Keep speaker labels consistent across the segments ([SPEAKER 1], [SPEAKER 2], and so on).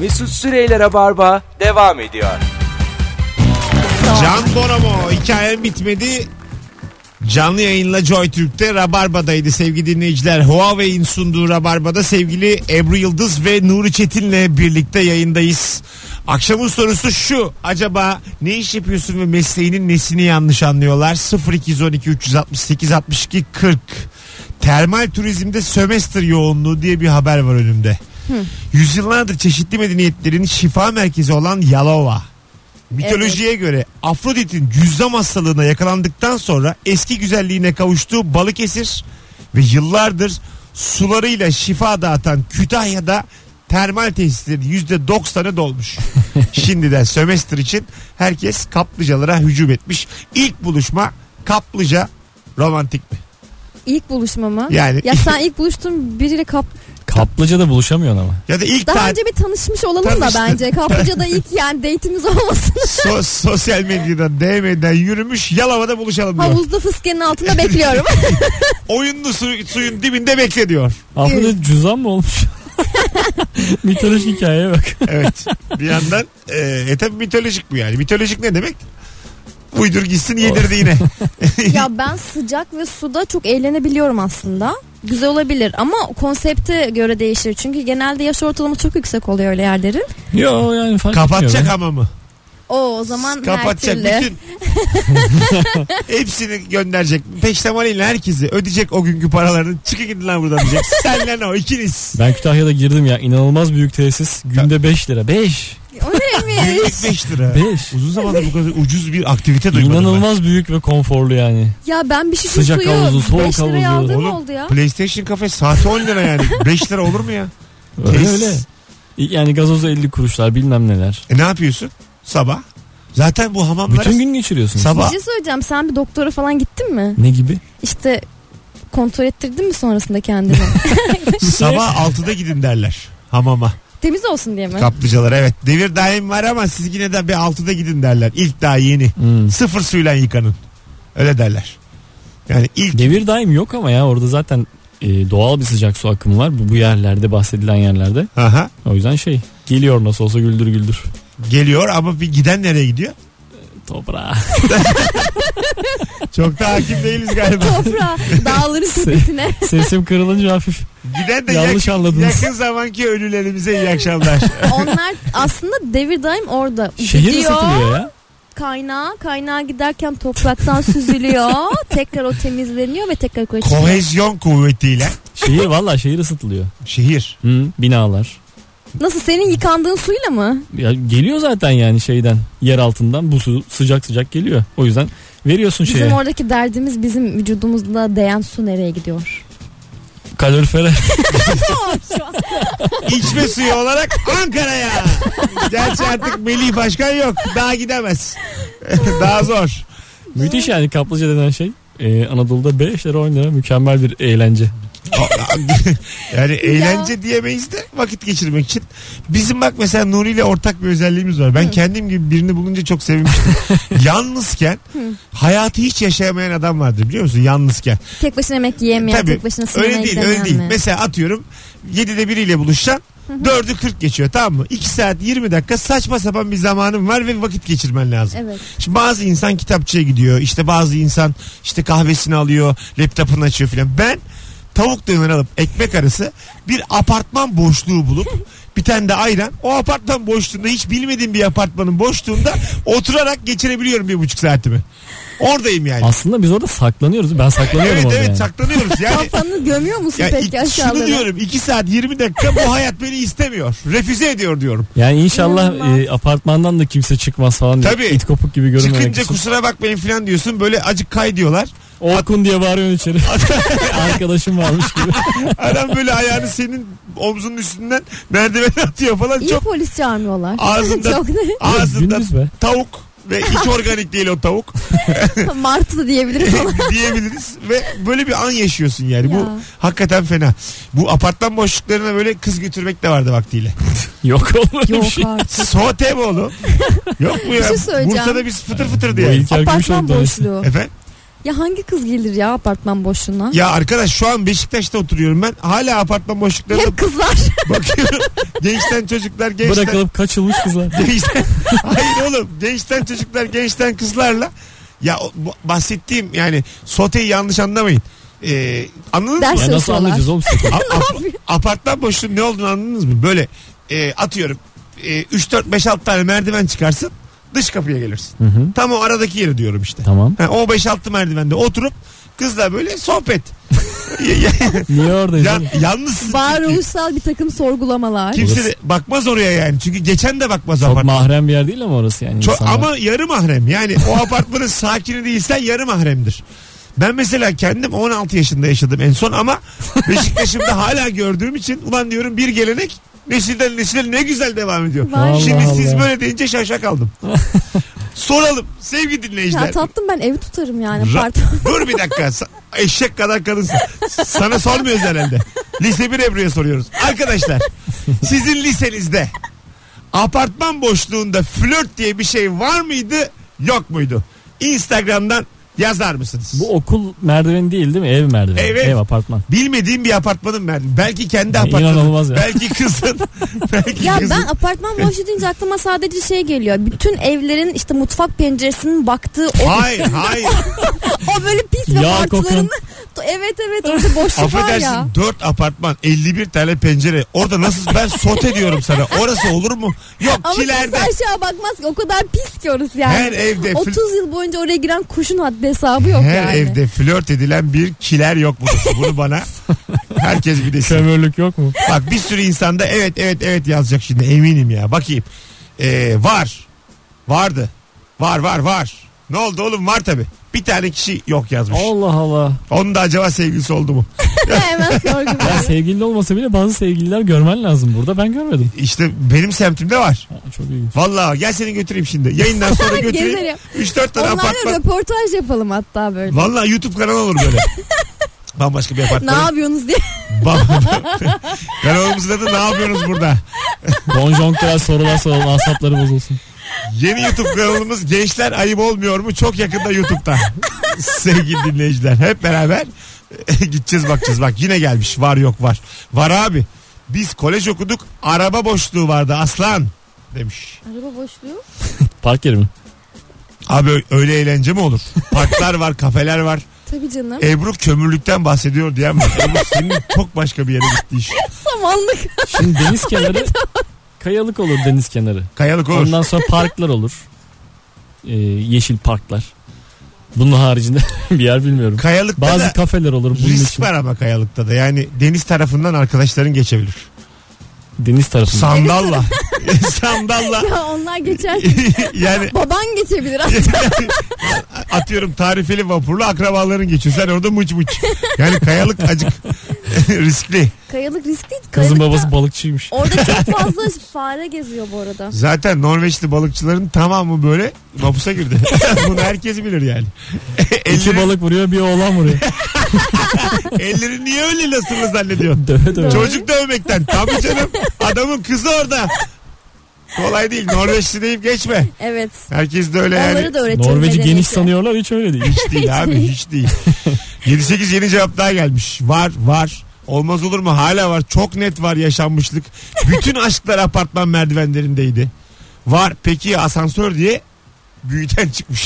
[SPEAKER 1] Mesut Süreyler'e barba devam ediyor.
[SPEAKER 2] Can Bonomo hikayem bitmedi. Canlı yayınla Joy Türk'te Rabarba'daydı sevgili dinleyiciler. Huawei'in sunduğu Rabarba'da sevgili Ebru Yıldız ve Nuri Çetin'le birlikte yayındayız. Akşamın sorusu şu. Acaba ne iş yapıyorsun ve mesleğinin nesini yanlış anlıyorlar? 0212 368 62 40. Termal turizmde sömestr yoğunluğu diye bir haber var önümde. Yüzyıllardır çeşitli medeniyetlerin şifa merkezi olan Yalova. Mitolojiye göre Afrodit'in cüzzam hastalığına yakalandıktan sonra eski güzelliğine kavuştuğu Balıkesir ve yıllardır sularıyla şifa dağıtan Kütahya'da termal tesislerin %90'ı dolmuş. Şimdiden sömestr için herkes kaplıcalara hücum etmiş. İlk buluşma kaplıca romantik mi?
[SPEAKER 3] İlk buluşma mı?
[SPEAKER 2] Yani-
[SPEAKER 3] Ya sen ilk buluştun biriyle kap...
[SPEAKER 4] Kaplıca'da buluşamıyorsun ama.
[SPEAKER 2] Ya da ilk
[SPEAKER 3] Daha
[SPEAKER 2] tatil
[SPEAKER 3] önce bir tanışmış olalım
[SPEAKER 2] Tanıştın.
[SPEAKER 3] da bence. Kaplıca'da ilk yani date'imiz olmasın.
[SPEAKER 2] so- sosyal medyadan DM'den yürümüş Yalova'da buluşalım diyor.
[SPEAKER 3] Havuzda fıskenin altında bekliyorum.
[SPEAKER 2] Oyunlu su- suyun dibinde bekle diyor.
[SPEAKER 4] Afrodit cüzdan mı olmuş? Mitolojik hikayeye bak.
[SPEAKER 2] Evet. Bir yandan e, e tabii mitolojik bu yani. Mitolojik ne demek? Uydur gitsin yedirdi yine.
[SPEAKER 3] ya ben sıcak ve suda çok eğlenebiliyorum aslında. Güzel olabilir ama konsepte göre değişir. Çünkü genelde yaş ortalaması çok yüksek oluyor öyle yerlerin.
[SPEAKER 4] Yo yani fark etmiyor.
[SPEAKER 2] Kapatacak
[SPEAKER 4] be.
[SPEAKER 2] hamamı.
[SPEAKER 3] O o zaman
[SPEAKER 2] Kapatacak
[SPEAKER 3] her türlü.
[SPEAKER 2] bütün. Hepsini gönderecek. Peştemaliyle herkesi ödeyecek o günkü paralarını. Çıkın gidin lan buradan diyecek. Senle o ikiniz.
[SPEAKER 4] Ben Kütahya'da girdim ya inanılmaz büyük tesis. Günde 5 lira. 5.
[SPEAKER 3] O neymiş?
[SPEAKER 2] Günlük 5 lira.
[SPEAKER 4] 5.
[SPEAKER 2] Uzun zamandır bu kadar ucuz bir aktivite duymadım
[SPEAKER 4] İnanılmaz büyük ve konforlu yani.
[SPEAKER 3] ya ben bir şişe
[SPEAKER 4] Sıcak
[SPEAKER 3] suyu
[SPEAKER 4] havuzu, soğuk
[SPEAKER 3] 5 liraya
[SPEAKER 4] havuzu.
[SPEAKER 3] aldığım
[SPEAKER 2] Oğlum,
[SPEAKER 3] oldu ya.
[SPEAKER 2] ben. PlayStation kafe saati 10 lira yani. 5 lira olur mu ya?
[SPEAKER 4] Öyle
[SPEAKER 2] Tesis.
[SPEAKER 4] öyle. Yani gazozu 50 kuruşlar bilmem neler.
[SPEAKER 2] E ne yapıyorsun? Sabah. Zaten bu hamamlara
[SPEAKER 4] Bütün gün geçiriyorsun.
[SPEAKER 3] Bir
[SPEAKER 2] sabah
[SPEAKER 3] şey söyleyeceğim sen bir doktora falan gittin mi?
[SPEAKER 4] Ne gibi?
[SPEAKER 3] İşte kontrol ettirdin mi sonrasında kendini?
[SPEAKER 2] sabah 6'da gidin derler hamama.
[SPEAKER 3] Temiz olsun diye mi?
[SPEAKER 2] Kaplıcalar evet. Devir daim var ama siz yine de bir 6'da gidin derler. İlk daha yeni.
[SPEAKER 4] Hmm.
[SPEAKER 2] Sıfır suyla yıkanın. Öyle derler. Yani ilk
[SPEAKER 4] Devir daim yok ama ya orada zaten e, doğal bir sıcak su akımı var bu, bu yerlerde bahsedilen yerlerde.
[SPEAKER 2] aha,
[SPEAKER 4] O yüzden şey geliyor nasıl olsa güldür güldür.
[SPEAKER 2] geliyor ama bir giden nereye gidiyor?
[SPEAKER 4] Toprağa.
[SPEAKER 2] Çok da hakim değiliz galiba.
[SPEAKER 3] Toprağa dağların
[SPEAKER 2] Şey-
[SPEAKER 3] tepesine.
[SPEAKER 4] Sesim kırılınca hafif.
[SPEAKER 2] Giden de
[SPEAKER 4] Yanlış
[SPEAKER 2] yakın,
[SPEAKER 4] anladınız.
[SPEAKER 2] yakın zamanki ölülerimize iyi akşamlar.
[SPEAKER 3] Onlar aslında devir daim orada.
[SPEAKER 4] Şehir
[SPEAKER 3] Gidiyor.
[SPEAKER 4] ısıtılıyor ya.
[SPEAKER 3] kaynağa kaynağa giderken topraktan süzülüyor tekrar o temizleniyor ve tekrar yukarı çıkıyor.
[SPEAKER 2] Kohezyon kuvvetiyle
[SPEAKER 4] Şehir valla şehir ısıtılıyor.
[SPEAKER 2] şehir.
[SPEAKER 4] Hı, binalar.
[SPEAKER 3] Nasıl senin yıkandığın suyla mı?
[SPEAKER 4] Ya geliyor zaten yani şeyden yer altından bu su sıcak sıcak geliyor. O yüzden veriyorsun
[SPEAKER 2] Şey.
[SPEAKER 3] Bizim
[SPEAKER 4] şeye
[SPEAKER 3] oradaki derdimiz bizim vücudumuzda değen su nereye gidiyor?
[SPEAKER 4] kalorifere.
[SPEAKER 3] Şu an
[SPEAKER 2] İçme suyu olarak Ankara'ya. Gerçi artık Melih Başkan yok. Daha gidemez. daha zor.
[SPEAKER 4] Müthiş yani kaplıca denen şey. Ee, Anadolu'da 5 lira 10 lira mükemmel bir eğlence.
[SPEAKER 2] Yani eğlence diyemeyiz de vakit geçirmek için. Bizim bak mesela Nuri ile ortak bir özelliğimiz var. Ben kendim gibi birini bulunca çok sevinmiştim. Yalnızken hayatı hiç yaşayamayan adam vardır biliyor musun? Yalnızken.
[SPEAKER 3] tek başına yemek yiyemeyen,
[SPEAKER 2] Tabii.
[SPEAKER 3] tek başına sinemaya
[SPEAKER 2] Öyle değil
[SPEAKER 3] gidemeyen
[SPEAKER 2] öyle değil.
[SPEAKER 3] mi?
[SPEAKER 2] Mesela atıyorum 7'de biriyle buluşacaksın. 4'ü 40 geçiyor tamam mı? 2 saat 20 dakika saçma sapan bir zamanın var ve vakit geçirmen lazım.
[SPEAKER 3] Evet.
[SPEAKER 2] Şimdi bazı insan kitapçıya gidiyor. İşte bazı insan işte kahvesini alıyor, laptopunu açıyor filan. Ben tavuk döner alıp ekmek arası bir apartman boşluğu bulup bir tane de ayran. O apartman boşluğunda hiç bilmediğim bir apartmanın boşluğunda oturarak geçirebiliyorum bir buçuk saatimi. Oradayım yani.
[SPEAKER 4] Aslında biz orada saklanıyoruz. Ben saklanıyorum
[SPEAKER 2] evet
[SPEAKER 4] orada
[SPEAKER 2] evet
[SPEAKER 4] yani.
[SPEAKER 2] saklanıyoruz yani.
[SPEAKER 3] Kafanı gömüyor musun
[SPEAKER 2] Ya
[SPEAKER 3] peki
[SPEAKER 2] iki- şunu
[SPEAKER 3] aşağılara?
[SPEAKER 2] diyorum 2 saat 20 dakika bu hayat beni istemiyor. Refüze ediyor diyorum.
[SPEAKER 4] Yani inşallah
[SPEAKER 3] İnanılmaz.
[SPEAKER 4] e, apartmandan da kimse çıkmaz falan. diye
[SPEAKER 2] Tabii.
[SPEAKER 4] İt kopuk gibi görünmemek
[SPEAKER 2] Çıkınca
[SPEAKER 4] için.
[SPEAKER 2] kusura bakmayın falan diyorsun böyle acık kay diyorlar.
[SPEAKER 4] Orkun diye bağırıyorsun içeri. Arkadaşım varmış gibi.
[SPEAKER 2] Adam böyle ayağını senin omzunun üstünden merdiven atıyor falan.
[SPEAKER 3] İyi
[SPEAKER 2] Çok
[SPEAKER 3] polis çağırmıyorlar.
[SPEAKER 2] Ağzında-
[SPEAKER 3] Çok ne?
[SPEAKER 2] ağzında
[SPEAKER 4] Gündüz be.
[SPEAKER 2] tavuk ve hiç organik değil o tavuk
[SPEAKER 3] Martı diyebiliriz ona.
[SPEAKER 2] diyebiliriz ve böyle bir an yaşıyorsun yani bu
[SPEAKER 3] Ya.
[SPEAKER 2] hakikaten fena. Bu apartman boşluklarına böyle kız götürmek de vardı vaktiyle.
[SPEAKER 4] Yok olmadı bir
[SPEAKER 3] Yok
[SPEAKER 4] şey.
[SPEAKER 3] artık.
[SPEAKER 2] Sote mi oğlum? Yok mu
[SPEAKER 3] Bir
[SPEAKER 2] ya?
[SPEAKER 3] şey söyleyeceğim.
[SPEAKER 2] Bursa'da biz fıtır fıtır
[SPEAKER 4] Bu
[SPEAKER 2] diye.
[SPEAKER 4] ilk- Gümüşoluk
[SPEAKER 3] Apartman
[SPEAKER 4] dairesi.
[SPEAKER 3] boşluğu.
[SPEAKER 2] Efendim?
[SPEAKER 3] Ya hangi kız gelir ya apartman boşluğuna?
[SPEAKER 2] Ya arkadaş şu an Beşiktaş'ta oturuyorum ben. Hala apartman boşluklarına
[SPEAKER 3] Hep kızlar.
[SPEAKER 2] bakıyorum. Gençten çocuklar gençten.
[SPEAKER 4] Bırakılıp kaçılmış kızlar.
[SPEAKER 2] Gençten- hayır oğlum gençten çocuklar gençten kızlarla ya o- bu- bahsettiğim yani soteyi yanlış anlamayın. Ee, anladınız
[SPEAKER 3] Ders-
[SPEAKER 2] mı?
[SPEAKER 4] ya nasıl
[SPEAKER 3] Çalışıyorlar.
[SPEAKER 4] anlayacağız oğlum?
[SPEAKER 2] A- ap- apartman boşluğunun ne olduğunu anladınız mı? Böyle e, atıyorum e, 3 4 5 6 tane merdiven çıkarsın dış kapıya gelirsin.
[SPEAKER 4] Hı hı.
[SPEAKER 2] Tam o aradaki yeri diyorum işte.
[SPEAKER 4] Tamam.
[SPEAKER 2] Ha, o 5-6 merdivende oturup kızla böyle sohbet. Ya-
[SPEAKER 4] Niye oradayız?
[SPEAKER 2] ya,
[SPEAKER 4] oğlum?
[SPEAKER 2] yalnızsın. çünkü.
[SPEAKER 3] Varoluşsal bir takım sorgulamalar.
[SPEAKER 2] Kimse de bakmaz oraya yani. Çünkü geçen de bakmaz
[SPEAKER 4] Çok
[SPEAKER 2] apartman.
[SPEAKER 4] mahrem bir yer değil ama orası yani.
[SPEAKER 2] Çok,
[SPEAKER 4] insanlar.
[SPEAKER 2] ama yarı mahrem. Yani o apartmanın sakini değilsen yarı mahremdir. Ben mesela kendim 16 yaşında yaşadım en son ama Beşiktaş'ımda hala gördüğüm için ulan diyorum bir gelenek nesilden nesile ne güzel devam ediyor.
[SPEAKER 3] Vay
[SPEAKER 4] Allah
[SPEAKER 2] Şimdi siz
[SPEAKER 4] Allah.
[SPEAKER 2] böyle deyince şaşa kaldım. Soralım sevgili
[SPEAKER 3] Ya
[SPEAKER 2] dinleyiciler.
[SPEAKER 3] tatlım ben evi tutarım yani
[SPEAKER 2] Ra-
[SPEAKER 3] pardon.
[SPEAKER 2] Dur bir dakika. Sa- Eşek kadar kadınsın. Sana sormuyoruz herhalde. Lise 1 Ebru'ya soruyoruz. Arkadaşlar sizin lisenizde apartman boşluğunda flört diye bir şey var mıydı yok muydu? Instagram'dan yazar mısınız?
[SPEAKER 4] Bu okul merdiveni değil değil mi? Ev merdiveni.
[SPEAKER 2] Evet.
[SPEAKER 4] Ev apartman.
[SPEAKER 2] Bilmediğim bir apartmanın ben. Belki kendi
[SPEAKER 4] Ya
[SPEAKER 2] apartmanın.
[SPEAKER 4] inanılmaz ya.
[SPEAKER 2] Belki kızın. belki
[SPEAKER 3] Ya
[SPEAKER 2] kızın.
[SPEAKER 3] ben apartman boşu deyince aklıma sadece şey geliyor. Bütün evlerin işte mutfak penceresinin baktığı o,
[SPEAKER 2] Hayır hayır.
[SPEAKER 3] o böyle pis ve
[SPEAKER 4] Yağ kokan.
[SPEAKER 3] parçalarını. Evet evet orada boşluk var ya.
[SPEAKER 2] Affedersin 4 apartman 51 tane pencere. Orada nasıl ben sote diyorum sana. Orası olur mu? Yok
[SPEAKER 3] Ama
[SPEAKER 2] kilerde.
[SPEAKER 3] kimse aşağı bakmaz ki o kadar pis ki orası yani.
[SPEAKER 2] Her evde fl-
[SPEAKER 3] 30 yıl boyunca oraya giren kuşun haddi hesabı yok
[SPEAKER 2] Her
[SPEAKER 3] yani.
[SPEAKER 2] evde flört edilen bir kiler yok burada. Bunu bana herkes bir desin.
[SPEAKER 4] Kömürlük yok mu?
[SPEAKER 2] Bak bir sürü insanda evet evet evet yazacak şimdi eminim ya. Bakayım. Ee, var. Vardı. Var var var. Ne oldu oğlum var tabi. Bir tane kişi yok yazmış.
[SPEAKER 4] Allah Allah.
[SPEAKER 2] Onun da acaba sevgilisi oldu mu?
[SPEAKER 3] Hemen sorguluyor.
[SPEAKER 4] Ya sevgili olmasa bile bazı sevgililer görmen lazım burada. Ben görmedim.
[SPEAKER 2] İşte benim semtimde var.
[SPEAKER 4] Ha, Çok ilginç.
[SPEAKER 2] Vallahi gel seni götüreyim şimdi. Yayından sonra götüreyim.
[SPEAKER 3] Gezerim.
[SPEAKER 2] 3-4 tane
[SPEAKER 3] Onlarla
[SPEAKER 2] apartman.
[SPEAKER 3] röportaj yapalım hatta böyle.
[SPEAKER 2] Vallahi YouTube kanalı olur böyle. Bambaşka bir
[SPEAKER 3] Ne
[SPEAKER 2] apartman.
[SPEAKER 3] yapıyorsunuz diye.
[SPEAKER 2] Kanalımızın adı ne yapıyoruz burada?
[SPEAKER 4] Bonjonkral sorular soralım asapları bozulsun.
[SPEAKER 2] Yeni YouTube kanalımız Gençler Ayıp Olmuyor mu? Çok yakında YouTube'da. Sevgili dinleyiciler hep beraber e, gideceğiz bakacağız. Bak yine gelmiş var yok var. Var abi biz kolej okuduk araba boşluğu vardı aslan demiş.
[SPEAKER 3] Araba boşluğu.
[SPEAKER 4] Park yeri mi?
[SPEAKER 2] Abi ö- öyle eğlence mi olur? Parklar var kafeler var.
[SPEAKER 3] Tabii canım.
[SPEAKER 2] Ebru kömürlükten bahsediyor diyen var. Ebru senin çok başka bir yere gitti iş.
[SPEAKER 3] Samanlık.
[SPEAKER 4] Şimdi deniz kenarı kayalık olur deniz kenarı.
[SPEAKER 2] Kayalık olur.
[SPEAKER 4] Ondan sonra parklar olur. Ee, yeşil parklar. Bunun haricinde bir yer bilmiyorum.
[SPEAKER 2] Kayalıkta
[SPEAKER 4] Bazı
[SPEAKER 2] da
[SPEAKER 4] kafeler olur bunun
[SPEAKER 2] risk
[SPEAKER 4] için.
[SPEAKER 2] var ama kayalıkta da. Yani deniz tarafından arkadaşların geçebilir.
[SPEAKER 4] Deniz tarafında.
[SPEAKER 2] Sandalla. Sandalla.
[SPEAKER 3] Ya onlar geçer.
[SPEAKER 2] yani
[SPEAKER 3] Baban geçebilir.
[SPEAKER 2] E- atıyorum tarifeli vapurlu akrabaların geçiyor. Sen orada mıç mıç. Yani kayalık acık riskli.
[SPEAKER 3] Kayalık riskli.
[SPEAKER 4] Kızın
[SPEAKER 3] Kayalıkta-
[SPEAKER 4] babası balıkçıymış.
[SPEAKER 3] Orada çok fazla fare geziyor bu arada.
[SPEAKER 2] Zaten Norveçli balıkçıların tamamı böyle mapusa girdi. Bunu herkes bilir yani.
[SPEAKER 4] İki
[SPEAKER 2] elleri,
[SPEAKER 4] balık vuruyor bir oğlan vuruyor.
[SPEAKER 2] elleri niye öyle lasırlı zannediyorsun?
[SPEAKER 4] döve döve.
[SPEAKER 2] Çocuk dövmekten. Tabii canım. Adamın kızı orada. Kolay değil. Norveçli deyip geçme.
[SPEAKER 3] Evet.
[SPEAKER 2] Herkes de öyle yani.
[SPEAKER 3] Onları da öğretelim.
[SPEAKER 4] Norveç'i
[SPEAKER 3] medeniyeti.
[SPEAKER 4] geniş sanıyorlar hiç öyle değil.
[SPEAKER 2] Hiç değil abi hiç değil. 7-8 yeni cevap daha gelmiş. Var var. Olmaz olur mu? Hala var. Çok net var yaşanmışlık. Bütün aşklar apartman merdivenlerindeydi. Var. Peki asansör diye büyüten çıkmış.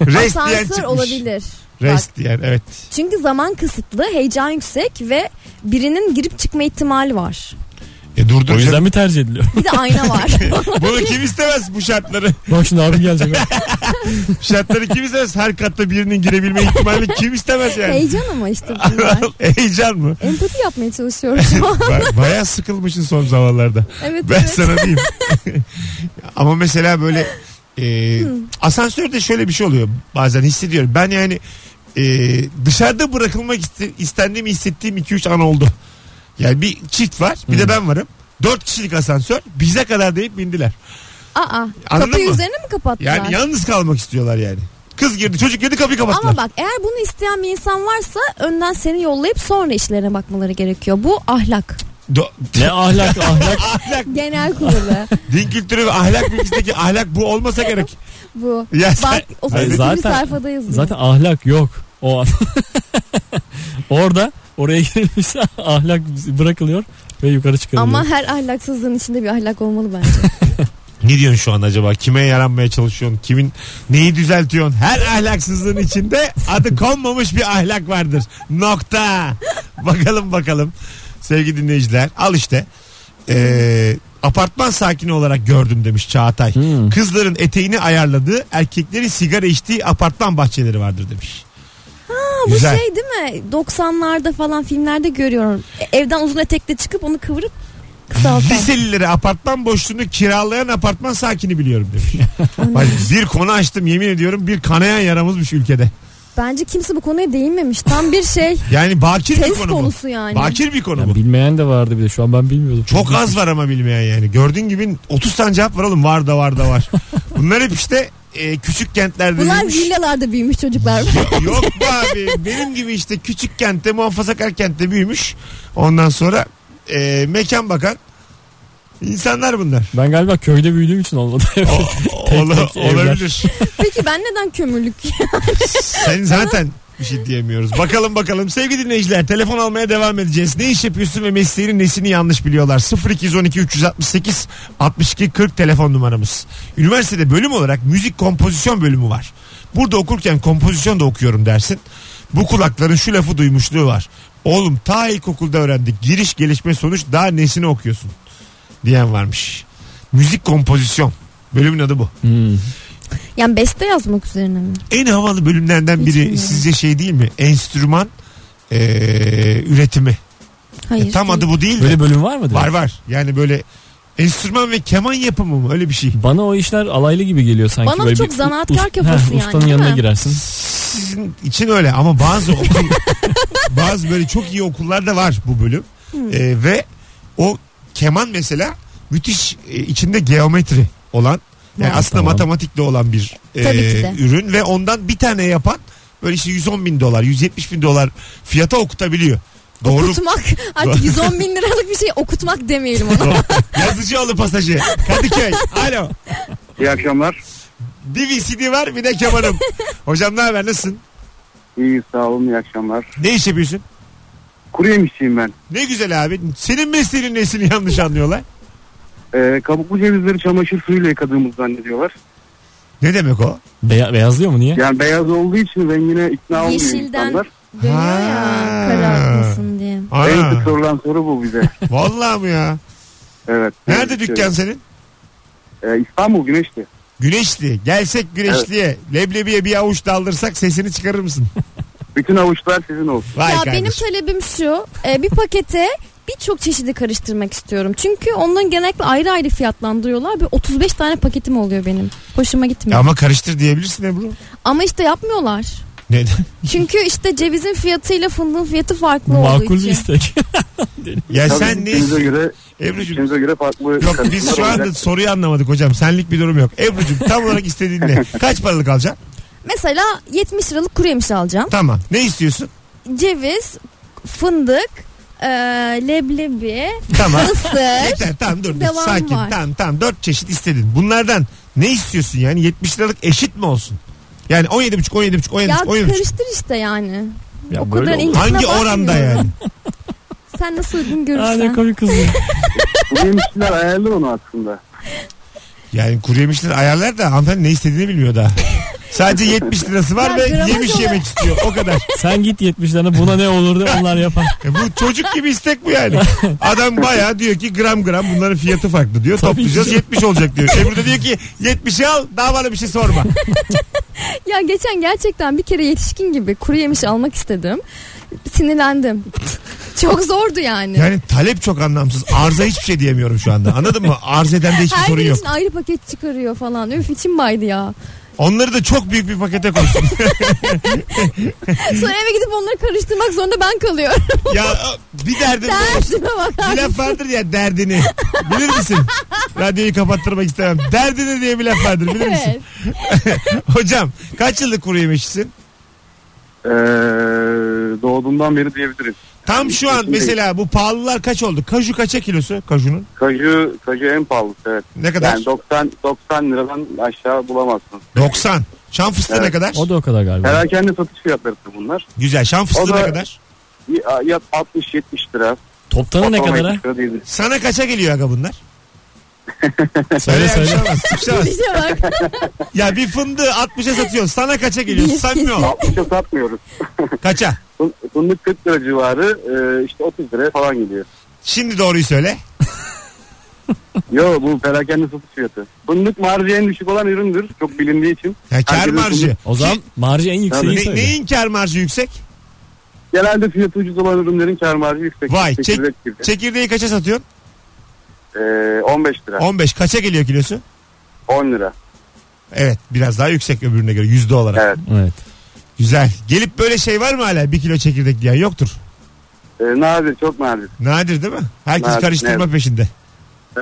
[SPEAKER 2] Rest diyen
[SPEAKER 3] Asansör
[SPEAKER 2] çıkmış.
[SPEAKER 3] olabilir.
[SPEAKER 2] Rest diyen evet.
[SPEAKER 3] Çünkü zaman kısıtlı, heyecan yüksek ve birinin girip çıkma ihtimali var.
[SPEAKER 2] E
[SPEAKER 4] O
[SPEAKER 2] durdur.
[SPEAKER 4] yüzden mi tercih ediliyor?
[SPEAKER 3] Bir de ayna var.
[SPEAKER 2] Bunu kim istemez bu şartları?
[SPEAKER 4] Bak şimdi abim gelecek.
[SPEAKER 2] Bu şartları kim istemez? Her katta birinin girebilme ihtimali kim istemez yani?
[SPEAKER 3] heyecan ama işte bunlar.
[SPEAKER 2] Heyecan mı?
[SPEAKER 3] Empati yapmaya çalışıyorum şu an.
[SPEAKER 2] Ba- Bayağı sıkılmışsın son zamanlarda.
[SPEAKER 3] Evet
[SPEAKER 2] Ben
[SPEAKER 3] evet.
[SPEAKER 2] sana diyeyim. Ama mesela böyle e, asansörde şöyle bir şey oluyor bazen hissediyorum. Ben yani e, dışarıda bırakılmak iste, istendiğimi hissettiğim 2-3 an oldu. Yani bir çift var bir de ben varım. 4 kişilik asansör bize kadar deyip bindiler.
[SPEAKER 3] Aa,
[SPEAKER 2] Anladın
[SPEAKER 3] kapıyı
[SPEAKER 2] mı?
[SPEAKER 3] üzerine mi kapattılar?
[SPEAKER 2] Yani yalnız kalmak istiyorlar yani. Kız girdi çocuk girdi kapıyı kapattılar.
[SPEAKER 3] ama bak eğer bunu isteyen bir insan varsa önden seni yollayıp sonra işlerine bakmaları gerekiyor. Bu ahlak.
[SPEAKER 2] Do-
[SPEAKER 4] ne ahlak ahlak.
[SPEAKER 2] ahlak,
[SPEAKER 3] Genel kurulu
[SPEAKER 2] din kültürü ve ahlak bilgisindeki ahlak bu olmasa gerek.
[SPEAKER 3] bu.
[SPEAKER 2] Ya sen-
[SPEAKER 3] Bak 32.
[SPEAKER 4] zaten-
[SPEAKER 3] sayfadayız. biz.
[SPEAKER 4] Zaten ahlak yok o an. Orada oraya girilmişse ahlak bırakılıyor. ve yukarı çıkarılıyor.
[SPEAKER 3] Ama her ahlaksızlığın içinde bir ahlak olmalı bence.
[SPEAKER 2] Ne diyorsun şu an acaba? Kime yaranmaya çalışıyorsun? Kimin neyi düzeltiyorsun? Her ahlaksızlığın içinde adı konmamış bir ahlak vardır. Nokta. Bakalım bakalım. Sevgili dinleyiciler al işte. Ee, apartman sakini olarak gördüm demiş Çağatay.
[SPEAKER 4] Hmm.
[SPEAKER 2] Kızların eteğini ayarladığı, erkeklerin sigara içtiği apartman bahçeleri vardır demiş.
[SPEAKER 3] Ha, bu şey değil mi? 90'larda falan filmlerde görüyorum. E, Evden uzun etekle çıkıp onu kıvırıp kısaltan.
[SPEAKER 2] Liselilere apartman boşluğunu kiralayan apartman sakini biliyorum demiş. Bak, bir konu açtım yemin ediyorum bir kanayan yaramızmış ülkede.
[SPEAKER 3] Bence kimse bu konuya değinmemiş. Tam bir şey
[SPEAKER 2] Yani bakir bir
[SPEAKER 3] test
[SPEAKER 2] konu bu.
[SPEAKER 3] konusu yani.
[SPEAKER 2] Bakir bir konu
[SPEAKER 4] Yani
[SPEAKER 2] bu.
[SPEAKER 4] bilmeyen de vardı bir de şu an ben bilmiyordum.
[SPEAKER 2] Çok az var ama bilmeyen yani. Gördüğün gibi 30 tane cevap var oğlum. Var da var da var. Bunlar hep işte e, küçük kentlerde
[SPEAKER 3] Bunlar
[SPEAKER 2] büyümüş.
[SPEAKER 3] villalarda büyümüş çocuklar.
[SPEAKER 2] Yok be abi. Benim gibi işte küçük kentte muhafazakar kentte büyümüş. Ondan sonra e, mekan bakan insanlar bunlar.
[SPEAKER 4] Ben galiba köyde büyüdüğüm için olmadı.
[SPEAKER 2] Ola-
[SPEAKER 4] tek evler.
[SPEAKER 2] olabilir.
[SPEAKER 3] Peki ben neden kömürlük?
[SPEAKER 2] Sen zaten bir şey diyemiyoruz. Bakalım bakalım. Sevgili dinleyiciler telefon almaya devam edeceğiz. Ne iş yapıyorsun ve mesleğinin nesini yanlış biliyorlar? 0212 368 62 40 telefon numaramız. Üniversitede bölüm olarak müzik kompozisyon bölümü var. Burada okurken kompozisyon da okuyorum dersin. Bu kulakların şu lafı duymuşluğu var. Oğlum ta ilkokulda öğrendik. Giriş gelişme sonuç daha nesini okuyorsun? Diyen varmış. Müzik kompozisyon. Bölümün adı bu.
[SPEAKER 4] Hmm.
[SPEAKER 3] yani beste yazmak üzerine mi?
[SPEAKER 2] En havalı bölümlerden
[SPEAKER 3] Hiç
[SPEAKER 2] biri
[SPEAKER 3] bilmiyorum.
[SPEAKER 2] sizce şey değil mi? Enstrüman eee, üretimi.
[SPEAKER 3] Hayır.
[SPEAKER 2] E, tam
[SPEAKER 3] değil.
[SPEAKER 2] adı bu değil de.
[SPEAKER 4] Böyle bölüm var mıdır?
[SPEAKER 2] var var. Yani böyle enstrüman ve keman yapımı mı? Öyle bir şey.
[SPEAKER 4] Bana o işler alaylı gibi geliyor sanki.
[SPEAKER 3] Bana
[SPEAKER 4] böyle
[SPEAKER 3] çok
[SPEAKER 4] bir
[SPEAKER 3] zanaatkar
[SPEAKER 4] ust-
[SPEAKER 3] kafası
[SPEAKER 4] Heh,
[SPEAKER 3] yani,
[SPEAKER 4] Ustanın
[SPEAKER 3] değil
[SPEAKER 4] yanına
[SPEAKER 3] mi?
[SPEAKER 4] girersin.
[SPEAKER 2] Sizin için öyle ama bazı okul, bazı böyle çok iyi okullarda var bu bölüm.
[SPEAKER 3] Hmm.
[SPEAKER 2] Eee, ve o keman mesela müthiş e, içinde geometri olan yani
[SPEAKER 4] Vay,
[SPEAKER 2] aslında
[SPEAKER 4] tamam.
[SPEAKER 2] matematikle olan bir
[SPEAKER 3] Tabii
[SPEAKER 2] e,
[SPEAKER 3] ki de.
[SPEAKER 2] ürün ve ondan bir tane yapan böyle işte 110 bin dolar 170 bin dolar fiyata okutabiliyor. Doğru
[SPEAKER 3] Okutmak artık 110 bin liralık bir şey okutmak demeyelim ona.
[SPEAKER 2] Yazıcıoğlu pasajı. Kadıköy. Alo.
[SPEAKER 5] İyi akşamlar.
[SPEAKER 2] Bir VCD var bir de kemanım. Hocam ne haber nasılsın?
[SPEAKER 5] İyi sağ olun iyi akşamlar.
[SPEAKER 2] Ne iş yapıyorsun?
[SPEAKER 5] Kuru yemişçiyim ben.
[SPEAKER 2] Ne güzel abi. Senin mesleğinin nesini yanlış anlıyorlar?
[SPEAKER 5] Ee, kabuklu cevizleri çamaşır suyuyla yıkadığımızı zannediyorlar.
[SPEAKER 2] Ne demek o?
[SPEAKER 4] Beya- beyazlıyor mu niye?
[SPEAKER 5] Yani beyaz olduğu için rengine ikna olmuyor
[SPEAKER 3] Yeşilden
[SPEAKER 5] insanlar.
[SPEAKER 3] dönüyor ya
[SPEAKER 2] Ha.
[SPEAKER 3] karartmasın diye.
[SPEAKER 5] En
[SPEAKER 2] Ana,
[SPEAKER 5] sık sorulan soru bu bize.
[SPEAKER 2] vallahi mi ya?
[SPEAKER 5] Evet.
[SPEAKER 2] Nerede
[SPEAKER 5] Evet,
[SPEAKER 2] dükkan senin?
[SPEAKER 5] şöyle. Ee, İstanbul Güneşli.
[SPEAKER 2] Güneşli. Gelsek Güneşli'ye. Leblebiye bir avuç daldırsak sesini çıkarır mısın?
[SPEAKER 5] Bütün avuçlar sizin olsun.
[SPEAKER 2] Vay
[SPEAKER 3] ya
[SPEAKER 2] kardeşim.
[SPEAKER 3] benim talebim şu. e, bir pakete birçok çeşidi karıştırmak istiyorum. Çünkü onların genellikle ayrı ayrı fiyatlandırıyorlar. Bir 35 tane paketim oluyor benim. Hoşuma
[SPEAKER 2] Ya
[SPEAKER 3] gitmiyor.
[SPEAKER 2] Ama karıştır diyebilirsin Ebru.
[SPEAKER 3] Ama işte yapmıyorlar.
[SPEAKER 2] Ne?
[SPEAKER 3] Çünkü işte cevizin fiyatıyla fındığın fiyatı farklı olduğu
[SPEAKER 4] Makul bir
[SPEAKER 3] için.
[SPEAKER 4] istek.
[SPEAKER 2] ya
[SPEAKER 5] Tabii
[SPEAKER 2] E sen ne
[SPEAKER 5] bütçenize göre,
[SPEAKER 2] Ebru'cum
[SPEAKER 5] bütçenize göre farklı
[SPEAKER 2] Yok biz
[SPEAKER 5] karışımlar
[SPEAKER 2] şu anda
[SPEAKER 5] olacak.
[SPEAKER 2] soruyu anlamadık hocam. Senlik bir durum yok. Ebru'cum tam olarak istediğin ne? Kaç paralık alacaksın?
[SPEAKER 3] Mesela 70 liralık kuru yemiş alacağım.
[SPEAKER 2] Tamam. Ne istiyorsun?
[SPEAKER 3] Ceviz, fındık, e, leblebi,
[SPEAKER 2] Tamam.
[SPEAKER 3] ısır.
[SPEAKER 2] Yeter tamam dur. dur.
[SPEAKER 3] Devam
[SPEAKER 2] Sakin
[SPEAKER 3] var.
[SPEAKER 2] tamam tamam. Dört çeşit istedin. Bunlardan ne istiyorsun yani? 70 liralık eşit mi olsun? Yani 17,5 17,5
[SPEAKER 3] ya
[SPEAKER 2] 17,5 17,5.
[SPEAKER 3] karıştır işte yani.
[SPEAKER 4] Ya
[SPEAKER 3] o
[SPEAKER 4] böyle
[SPEAKER 3] kadar
[SPEAKER 4] olur.
[SPEAKER 3] incesine
[SPEAKER 2] Hangi
[SPEAKER 3] bakmıyorum.
[SPEAKER 2] oranda yani?
[SPEAKER 3] Sen nasıl uygun
[SPEAKER 4] Aa, ne
[SPEAKER 3] görürsen.
[SPEAKER 4] komik kız.
[SPEAKER 5] Kuru yemişçiler ayarlı onu aslında.
[SPEAKER 2] Yani kuru yemişler ayarlar da hanımefendi ne istediğini bilmiyor daha. Sadece 70 lirası var
[SPEAKER 3] Ya
[SPEAKER 2] ve
[SPEAKER 3] gramaj
[SPEAKER 2] yemiş
[SPEAKER 3] olarak-
[SPEAKER 2] yemek istiyor o kadar.
[SPEAKER 4] Sen git 70'lerine buna ne olurdu onlar yapar.
[SPEAKER 2] E bu çocuk gibi istek bu yani. Adam bayağı diyor ki gram gram bunların fiyatı farklı diyor.
[SPEAKER 4] Tabii
[SPEAKER 2] Toplayacağız
[SPEAKER 4] ki.
[SPEAKER 2] 70 olacak diyor. Ebru da diyor ki 70'i al daha bana bir şey sorma.
[SPEAKER 3] Ya geçen gerçekten bir kere yetişkin gibi kuru yemiş almak istedim. Sinirlendim. Çok zordu yani.
[SPEAKER 2] Yani talep çok anlamsız. Arıza hiçbir şey diyemiyorum şu anda. Anladın mı? Arz eden de hiçbir
[SPEAKER 3] Her
[SPEAKER 2] sorun
[SPEAKER 3] gün
[SPEAKER 2] yok.
[SPEAKER 3] için ayrı paket çıkarıyor falan. Üf içim baydı ya.
[SPEAKER 2] Onları da çok büyük bir pakete koysun.
[SPEAKER 3] Sonra eve gidip onları karıştırmak zorunda ben kalıyorum.
[SPEAKER 2] ya bir derdin var.
[SPEAKER 3] Derdime bakar.
[SPEAKER 2] Bir laf vardır ya derdini. Bilir misin? Radyoyu kapattırmak istemem. Derdini diye bir şey. laf vardır bilir misin?
[SPEAKER 3] Evet.
[SPEAKER 2] Hocam kaç yıllık kuru yemişsin?
[SPEAKER 5] Ee, doğduğumdan beri diyebiliriz.
[SPEAKER 2] Tam şu an mesela bu pahalılar kaç oldu? Kaju kaça kilosu kajunun?
[SPEAKER 5] Kaju, kaju en pahalısı evet.
[SPEAKER 2] Ne kadar?
[SPEAKER 5] Yani 90, 90 liradan aşağı bulamazsın.
[SPEAKER 2] 90. Şam fıstığı ne
[SPEAKER 5] Evet.
[SPEAKER 2] kadar?
[SPEAKER 4] O da o kadar galiba.
[SPEAKER 5] Perakende satış fiyatları bunlar.
[SPEAKER 2] Güzel. Şam fıstığı
[SPEAKER 5] O da-
[SPEAKER 2] ne kadar?
[SPEAKER 5] Ya 60-70 lira.
[SPEAKER 4] Toptanı ne
[SPEAKER 5] Ortalama
[SPEAKER 4] kadara?
[SPEAKER 5] 70 lira diyebiliriz.
[SPEAKER 2] Sana kaça geliyor aga bunlar?
[SPEAKER 4] Söyle
[SPEAKER 2] Öyle bir şey
[SPEAKER 4] söyle.
[SPEAKER 2] olmaz, bir şey olmaz.
[SPEAKER 3] İşte bak
[SPEAKER 2] ya bir fındığı 60'a satıyorsun. Sana kaça geliyor? Samimi ol.
[SPEAKER 5] 60'a satmıyoruz.
[SPEAKER 2] Kaça?
[SPEAKER 5] Fın- Fındık 40 lira civarı e, işte 30 liraya falan geliyor.
[SPEAKER 2] Şimdi doğruyu söyle.
[SPEAKER 5] Yo bu perakende satış fiyatı. Fındık marjı en düşük olan üründür. Çok bilindiği için.
[SPEAKER 2] Ya kar
[SPEAKER 5] Herkesin
[SPEAKER 2] marjı.
[SPEAKER 5] fındık-
[SPEAKER 4] O zaman marjı en yükseği
[SPEAKER 2] Ne,
[SPEAKER 4] söyle.
[SPEAKER 2] neyin kar marjı yüksek?
[SPEAKER 5] Genelde fiyatı ucuz olan ürünlerin kar marjı yüksek.
[SPEAKER 2] Vay
[SPEAKER 5] Yüksek
[SPEAKER 2] çek,
[SPEAKER 5] ücret gibi.
[SPEAKER 2] çekirdeği kaça satıyorsun?
[SPEAKER 5] E, 15 lira.
[SPEAKER 2] 15. Kaça geliyor kilosu?
[SPEAKER 5] 10 lira.
[SPEAKER 2] Evet biraz daha yüksek öbürüne göre yüzde olarak.
[SPEAKER 5] Evet.
[SPEAKER 4] Evet.
[SPEAKER 2] Güzel. Gelip böyle şey var mı hala? Bir kilo çekirdek diyen yoktur.
[SPEAKER 5] E, nadir çok nadir.
[SPEAKER 2] Nadir değil mi? Herkes
[SPEAKER 5] Nadir,
[SPEAKER 2] karıştırma
[SPEAKER 5] evet.
[SPEAKER 2] peşinde.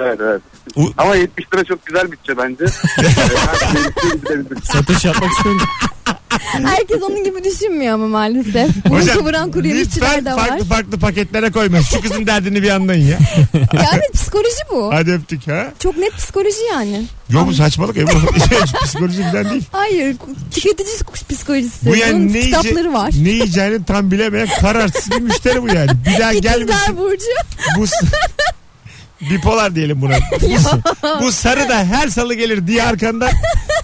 [SPEAKER 5] Evet evet.
[SPEAKER 2] U-
[SPEAKER 5] Ama 70 lira çok güzel bütçe bence. Her şey şeyi gidebiliriz.
[SPEAKER 4] Satış yapmak istiyorum.
[SPEAKER 3] herkes onun gibi düşünmüyor ama maalesef. Bunu
[SPEAKER 2] Hocam,
[SPEAKER 3] kıvıran kuryeleşçiler
[SPEAKER 2] lütfen
[SPEAKER 3] de var.
[SPEAKER 2] farklı farklı paketlere koyma. Şu kızın derdini bir anlayın ya.
[SPEAKER 3] Yani psikoloji bu.
[SPEAKER 2] Hadi öptük ha.
[SPEAKER 3] Çok net psikoloji yani.
[SPEAKER 2] Yok bu saçmalık ya. Bu hiç psikoloji falan değil.
[SPEAKER 3] Hayır tüketici psikolojisi.
[SPEAKER 2] Bu yani
[SPEAKER 3] Bunun
[SPEAKER 2] ne, yiyece-
[SPEAKER 3] kitapları var.
[SPEAKER 2] ne yiyeceğini tam bilemeyen kararsız bir müşteri bu yani. Bir daha gelmesin.
[SPEAKER 4] şey-
[SPEAKER 3] İkizler Burcu.
[SPEAKER 2] Bu s- bipolar diyelim buna. bu sarı da her salı gelir diye arkandan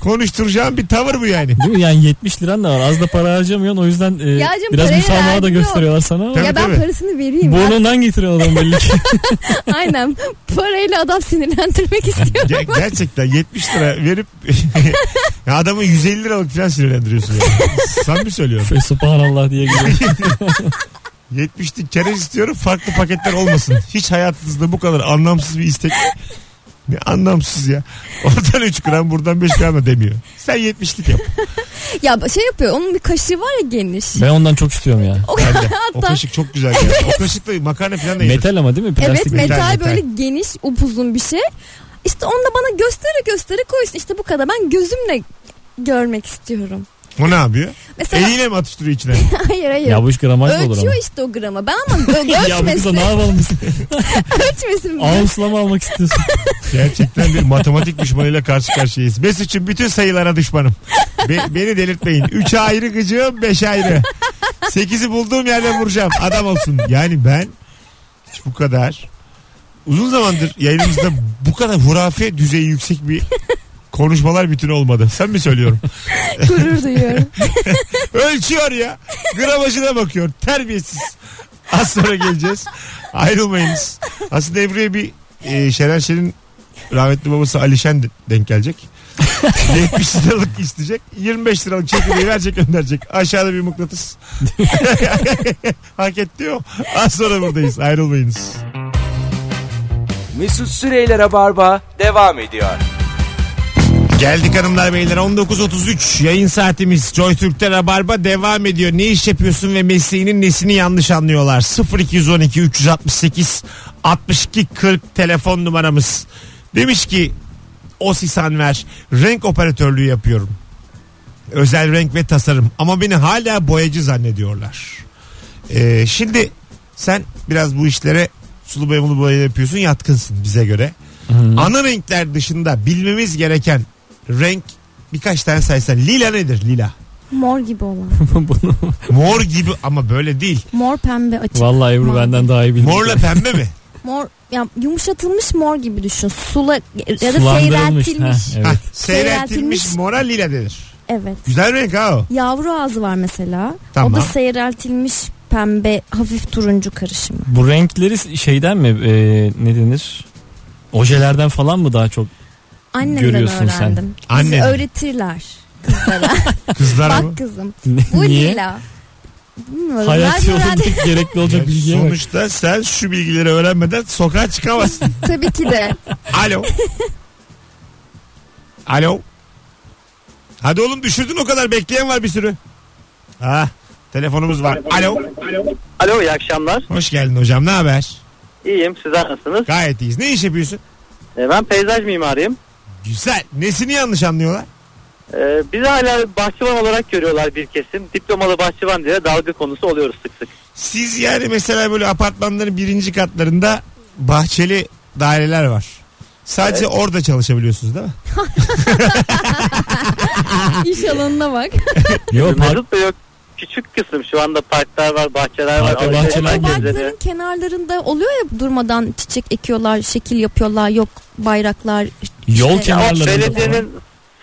[SPEAKER 2] konuşturacağım bir tavır bu yani.
[SPEAKER 4] Değil mi? Yani 70 liran da var. Az da para harcamıyorsun. O yüzden e,
[SPEAKER 3] Ya canım,
[SPEAKER 4] biraz
[SPEAKER 3] parayı
[SPEAKER 4] müsamaha da
[SPEAKER 3] vermiyor.
[SPEAKER 4] gösteriyorlar sana ama.
[SPEAKER 2] Tabii,
[SPEAKER 3] ya ben
[SPEAKER 2] tabii.
[SPEAKER 3] parasını vereyim. ya.
[SPEAKER 4] Burnundan getiriyor adam belli ki.
[SPEAKER 3] Aynen. Parayla adam sinirlendirmek istiyor.
[SPEAKER 2] Ge- gerçekten 70 lira verip ya adamı 150 liralık falan sinirlendiriyorsun yani. Samimi söylüyorum.
[SPEAKER 4] Fe- Subhanallah diye geliyor.
[SPEAKER 2] 70'lik kereviz istiyorum farklı paketler olmasın. Hiç hayatınızda bu kadar anlamsız bir istek. Ne anlamsız ya. Oradan 3 gram buradan 5 gram da demiyor. Sen 70'lik yap.
[SPEAKER 3] ya şey yapıyor. Onun bir kaşığı var ya geniş.
[SPEAKER 4] Ben ondan çok istiyorum ya.
[SPEAKER 2] Ben de. O
[SPEAKER 3] Hatta-
[SPEAKER 2] kaşık çok güzel ya. O kaşıkla makarna falan da yenir.
[SPEAKER 4] Metal ama değil mi? Plastik
[SPEAKER 3] evet
[SPEAKER 4] değil.
[SPEAKER 3] metal,
[SPEAKER 2] metal,
[SPEAKER 3] böyle geniş upuzun bir şey. İşte onu da bana göstere göstere koysun. İşte bu kadar. Ben gözümle görmek istiyorum.
[SPEAKER 2] O ne yapıyor?
[SPEAKER 3] Mesela
[SPEAKER 2] Eliyle mi atıştırıyor içine?
[SPEAKER 3] hayır hayır.
[SPEAKER 4] Ya bu iş gramaj mı olur ama?
[SPEAKER 3] Ölçüyor işte o grama. Ben ama ö-
[SPEAKER 4] Ya bu kıza
[SPEAKER 3] ölçmesin.
[SPEAKER 4] ne yapalım biz?
[SPEAKER 3] ölçmesin.
[SPEAKER 4] Ağustos'la mı almak istiyorsun?
[SPEAKER 2] Gerçekten bir matematik düşmanıyla karşı karşıyayız. Mesut'cum bütün sayılara düşmanım. Be- beni delirtmeyin. 3 ayrı gıcığım 5 ayrı. 8'i bulduğum yerden vuracağım. Adam olsun. Yani ben hiç bu kadar uzun zamandır yayınımızda bu kadar hurafe düzeyi yüksek bir konuşmalar bütün olmadı. Sen mi söylüyorum?
[SPEAKER 3] Gurur duyuyorum.
[SPEAKER 2] Ölçüyor ya. Gramajına bakıyor. Terbiyesiz. Az sonra geleceğiz. Ayrılmayınız. Aslında Ebru'ya bir e, Şener Şen'in rahmetli babası Alişen de- denk gelecek. 70 liralık isteyecek. 25 liralık çekirdeği verecek gönderecek. Aşağıda bir mıknatıs. Hak etti o. Az sonra buradayız. Ayrılmayınız.
[SPEAKER 1] Mesut Süreyler'e barba devam ediyor.
[SPEAKER 2] Geldik hanımlar beyler 19.33 yayın saatimiz Joy Türk'te Rabarba devam ediyor. Ne iş yapıyorsun ve mesleğinin nesini yanlış anlıyorlar. 0212 368 62 40 telefon numaramız. Demiş ki Osisan ver renk operatörlüğü yapıyorum. Özel renk ve tasarım ama beni hala boyacı zannediyorlar. Ee, şimdi sen biraz bu işlere sulu boya mulu boya yapıyorsun yatkınsın bize göre. Ana renkler dışında bilmemiz gereken renk birkaç tane saysan. Lila nedir lila?
[SPEAKER 3] Mor gibi olan.
[SPEAKER 4] Bunu
[SPEAKER 2] Mor gibi ama böyle değil.
[SPEAKER 3] Mor pembe açık.
[SPEAKER 4] vallahi Ebru benden daha iyi bilir.
[SPEAKER 2] Morla pembe mi?
[SPEAKER 3] Mor ya yumuşatılmış mor gibi düşün. Sula ya da
[SPEAKER 4] Sulandırılmış.
[SPEAKER 3] seyreltilmiş.
[SPEAKER 4] Ha,
[SPEAKER 2] Hah,
[SPEAKER 4] evet.
[SPEAKER 2] seyreltilmiş
[SPEAKER 3] Seyreltilmiş.
[SPEAKER 2] mora lila denir.
[SPEAKER 3] Evet.
[SPEAKER 2] Güzel renk ha o.
[SPEAKER 3] Yavru ağzı var mesela.
[SPEAKER 2] Tamam.
[SPEAKER 3] O da seyreltilmiş pembe hafif turuncu karışımı.
[SPEAKER 4] Bu renkleri şeyden mi e, ne denir? Ojelerden falan mı daha çok?
[SPEAKER 3] Annemden
[SPEAKER 4] Görüyorsun sen.
[SPEAKER 3] öğrendim. Bizi
[SPEAKER 2] Annen.
[SPEAKER 3] öğretirler kızlara.
[SPEAKER 2] Kızlar mı?
[SPEAKER 3] Bak kızım. Bu
[SPEAKER 4] Niye?
[SPEAKER 3] lila. Bilmiyorum.
[SPEAKER 4] Hayat
[SPEAKER 3] ben öğrendim.
[SPEAKER 4] yolunda gerekli olacak şey
[SPEAKER 2] Yani
[SPEAKER 4] bilgiye bak.
[SPEAKER 2] sonuçta sen şu bilgileri öğrenmeden sokağa çıkamazsın.
[SPEAKER 3] Tabii ki de.
[SPEAKER 2] Alo. Alo. Hadi oğlum düşürdün o kadar bekleyen var bir sürü. Ha, telefonumuz var. Alo.
[SPEAKER 6] Alo iyi akşamlar.
[SPEAKER 2] Hoş geldin hocam. Ne haber?
[SPEAKER 6] İyiyim sizler nasılsınız?
[SPEAKER 2] Gayet iyiyiz. Ne iş yapıyorsun?
[SPEAKER 6] Ee, ben peyzaj mimarıyım.
[SPEAKER 2] Güzel. Nesini yanlış anlıyorlar?
[SPEAKER 6] Ee, bizi hala bahçıvan olarak görüyorlar bir kesim. Diplomalı bahçıvan diye dalga konusu oluyoruz sık sık.
[SPEAKER 2] Siz yani mesela böyle apartmanların birinci katlarında bahçeli daireler var. Sadece orada çalışabiliyorsunuz değil mi?
[SPEAKER 3] İş alanına bak.
[SPEAKER 4] Yok par-
[SPEAKER 6] Mesut Bey yok. küçük kısım şu anda parklar var, bahçeler var.
[SPEAKER 4] Arka
[SPEAKER 6] alışveriş
[SPEAKER 4] bahçeler
[SPEAKER 6] merkezleri.
[SPEAKER 3] Parkların kenarlarında oluyor ya durmadan çiçek ekiyorlar, şekil yapıyorlar, yok bayraklar.
[SPEAKER 4] Yol
[SPEAKER 3] işte-
[SPEAKER 6] Ya o
[SPEAKER 4] kenarlarında falan.
[SPEAKER 6] belediyenin